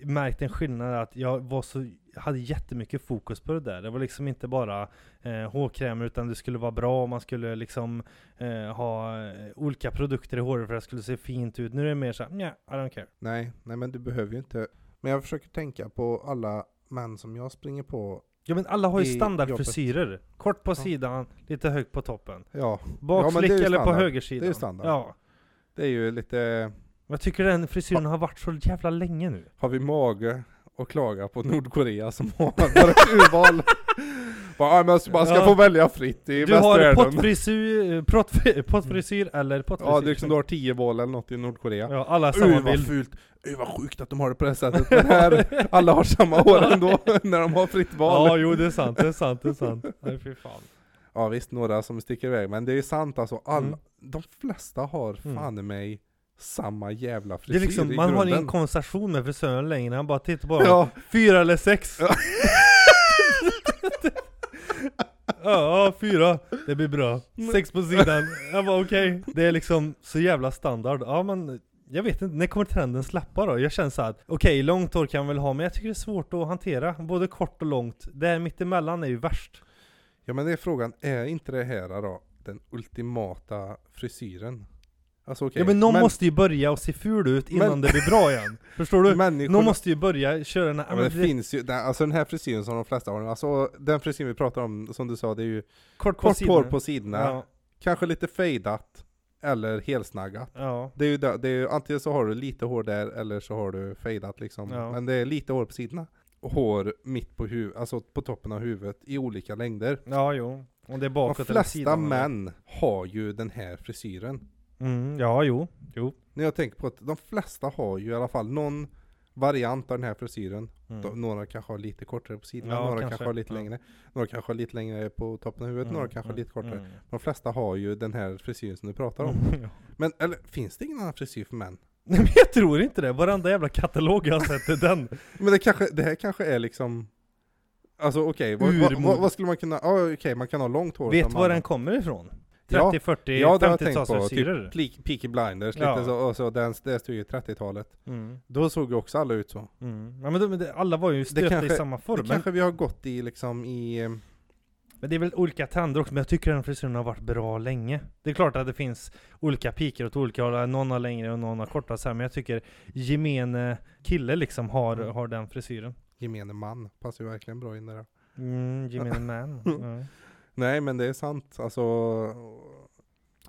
S1: jag märkte en skillnad att jag var så, jag hade jättemycket fokus på det där. Det var liksom inte bara eh, hårkrämer utan det skulle vara bra, man skulle liksom eh, ha eh, olika produkter i håret för att det skulle se fint ut. Nu är det mer såhär, nja, I don't care.
S2: Nej, nej men du behöver ju inte. Men jag försöker tänka på alla män som jag springer på.
S1: Ja men alla har ju
S2: I
S1: standardfrisyrer. Kort på
S2: Ja.
S1: sidan, lite högt på toppen.
S2: Ja, men
S1: Bakslick
S2: det är ju
S1: eller på
S2: standard.
S1: högersidan.
S2: Det är ju standard.
S1: Ja.
S2: det är ju lite,
S1: Men jag tycker den frisyren har varit så jävla länge nu.
S2: har vi mage att klaga på Nordkorea som har bara ett urval? Bara, "Ja, men man ska
S1: Ja.
S2: få välja fritt i
S1: Du har
S2: västvärlden.
S1: pottfrisyr, pott- pottfrisyr eller pottfrisyr.
S2: Ja, det är liksom du har tio val eller något i Nordkorea.
S1: Ja, alla har samma
S2: Uy vad
S1: bild.
S2: fult, uy vad sjukt att de har det på det här sättet. Men här, alla har samma hår ändå när de har fritt val.
S1: Ja, jo det är sant, det är sant, det är sant. Nej fy fan.
S2: Ja visst, några som sticker iväg, men det är sant alltså. Alla,
S1: Mm.
S2: De flesta har
S1: Mm.
S2: fan i mig samma jävla
S1: Det är
S2: frisyr
S1: liksom,
S2: i
S1: man har
S2: grunden.
S1: ingen konversation med frisören längre, han bara tittar på ja.
S2: Ja,
S1: Fyra eller sex? Ja. ja, fyra. Det blir bra. Sex på sidan. Jag bara okej. Det är liksom så jävla standard. Ja men, jag vet inte, när kommer trenden släppa då? Jag känner så här att okej, långt hår kan jag väl ha, men jag tycker det är svårt att hantera. Både kort och långt. Det här mittemellan är ju värst.
S2: ja men det är frågan, är inte det här då den ultimata frisyren? Alltså okej,
S1: ja men någon måste ju börja och se ful ut innan
S2: men-
S1: det blir bra igen. Förstår du?
S2: människorna-
S1: Någon måste ju börja köra den här,
S2: Ja, men det, finns ju, den, alltså den här frisyren som de flesta har nu, alltså den frisyren vi pratar om som du sa, det är ju
S1: kort, på
S2: kort hår
S1: sidan.
S2: på sidorna,
S1: Ja,
S2: kanske lite fejdat, eller helsnaggat.
S1: ja.
S2: Det är ju, det, det är ju antingen så har du lite hår där eller så har du fejdat liksom.
S1: Ja.
S2: Men det är lite hår på sidorna. Och hår mitt på huvudet, alltså på toppen av huvudet i olika längder.
S1: Ja, jo. Om det är
S2: De
S1: bakåt eller
S2: flesta
S1: sidan. eller-
S2: män har ju den här frisyren.
S1: Mm, ja, jo. jo.
S2: När jag tänker på att de flesta har ju i alla fall någon variant av den här frisyren.
S1: Mm.
S2: De- Några kanske har lite kortare på sidorna,
S1: Ja,
S2: några
S1: kanske.
S2: kanske har lite
S1: Ja.
S2: längre. Några kanske har lite längre på toppen av huvudet,
S1: Mm,
S2: några kanske har
S1: mm,
S2: lite kortare.
S1: mm.
S2: De flesta har ju den här frisyren som du pratar om.
S1: Mm, ja.
S2: Men eller, finns det ingen annan frisyr för män?
S1: Nej men jag tror inte det, varenda jävla katalog jag har sett är den.
S2: Men det, kanske, det här kanske är liksom Alltså okej, vad- vad,
S1: Urmod.
S2: vad, vad skulle man kunna, ja okej man kan ha långt hår
S1: Vet
S2: som
S1: var
S2: man-
S1: den kommer ifrån? 30,
S2: Ja,
S1: 40,
S2: ja, det har jag tänkt på, typ.
S1: 50-tals frisyror?
S2: Ple- Peaky Blinders
S1: Ja.
S2: lite så, och så den, det stod ju 30-talet
S1: Mm,
S2: Då såg ju också alla ut så
S1: mm. Ja, men de, de, alla var ju stöpta i
S2: kanske-
S1: samma
S2: Det
S1: form. Men,
S2: kanske vi har gått i liksom i eh,
S1: men det är väl olika trender också, men jag tycker den frisyren har varit bra länge. Det är klart att det finns olika piker åt olika håll, någon har längre och någon har kortare så här, men jag tycker gemene kille liksom har,
S2: Mm.
S1: har den frisyren.
S2: gemene man, passar ju verkligen bra in där
S1: Mm, gemene man. Ja.
S2: Nej men det är sant, alltså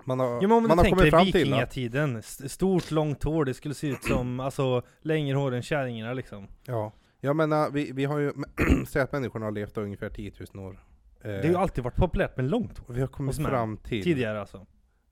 S2: Man har,
S1: Jo men om
S2: man
S1: du
S2: har
S1: tänker dig
S2: kommit fram till att,
S1: vikingatiden, st- stort långt hår, det skulle se ut som alltså längre hår än kärringarna liksom.
S2: Ja, jag menar vi, vi har ju, säg att människorna har levt då ungefär 10 000 år eh,
S1: Det har ju alltid varit populärt med långt hår.
S2: Vi har kommit
S1: hos män.
S2: fram till
S1: Tidigare alltså.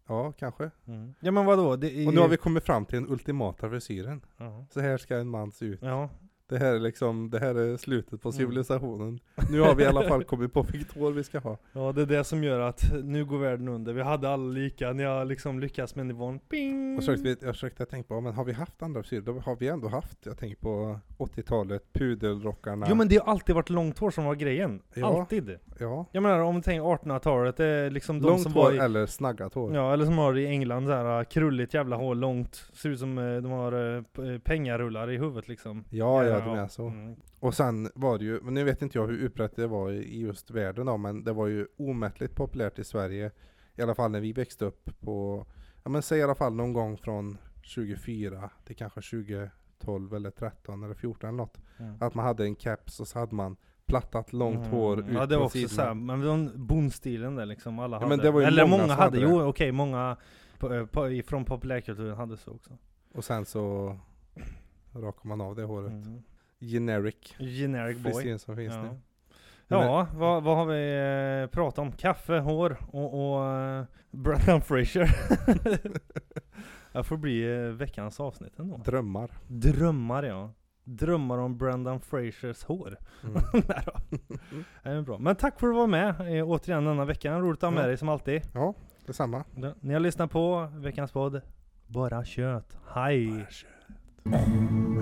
S2: Ja, kanske
S1: Mm. Ja men vadå? Det är...
S2: Och nu har vi kommit fram till den ultimata frisyren.
S1: Ja.
S2: Så här ska en man se ut.
S1: Ja.
S2: Det här är liksom, det här är slutet på civilisationen. Nu har vi i alla fall kommit på vilket år vi ska ha.
S1: Ja det är det som gör att nu går världen under. Vi hade alla lika, ni har liksom lyckats med nivån. Bing!
S2: Jag försökte, jag försökte tänka på, ja, men har vi haft andra frisyrer? Då har vi ändå haft, jag tänker på 80-talet, pudelrockarna.
S1: Jo men det har alltid varit långt hår som var grejen.
S2: Ja.
S1: Alltid.
S2: Ja.
S1: Jag menar om vi tänker 1800-talet, det är liksom de
S2: Långt
S1: som
S2: hår
S1: var i,
S2: eller snaggat hår.
S1: Ja, eller som har i England så här krulligt jävla hår, långt. Ser ut som eh, de har eh, p- eh, pengarullar i huvudet liksom.
S2: Ja, ja, du menar så.
S1: Mm.
S2: Och sen var det ju, men nu vet inte jag hur utbrett det var i i just världen då, men det var ju omättligt populärt i Sverige. I alla fall när vi växte upp på, ja men säg i alla fall någon gång från 24 till kanske 2012 eller 13 eller 14 eller något.
S1: Mm.
S2: Att man hade en caps och så hade man plattat långt hår ut
S1: Ja det var
S2: på
S1: också
S2: sidorna.
S1: såhär, men den bondstilen där liksom, alla
S2: Ja,
S1: hade.
S2: men det var ju
S1: Eller
S2: många
S1: många,
S2: som
S1: hade,
S2: hade
S1: jo
S2: det.
S1: okej, många på, eh, på, från populärkulturen hade så också.
S2: Och sen så rakar man av det håret.
S1: Mm.
S2: Generic
S1: Generic boy.
S2: frisyr som finns
S1: Ja,
S2: nu.
S1: ja vad, vad har vi eh, pratat om? Kaffe, hår och, och eh, Brendan Fraser. det får bli eh, veckans avsnitt ändå.
S2: Drömmar.
S1: Drömmar ja. Drömmar om Brendan Frasers hår.
S2: Mm.
S1: Nej då. Det är bra. Men tack för att du var med eh, återigen denna veckan. Roligt att ha med
S2: Ja.
S1: dig som alltid.
S2: Ja, detsamma.
S1: Ni har lyssnat på veckans podd. Bara kött. Hej!
S2: Bara kött.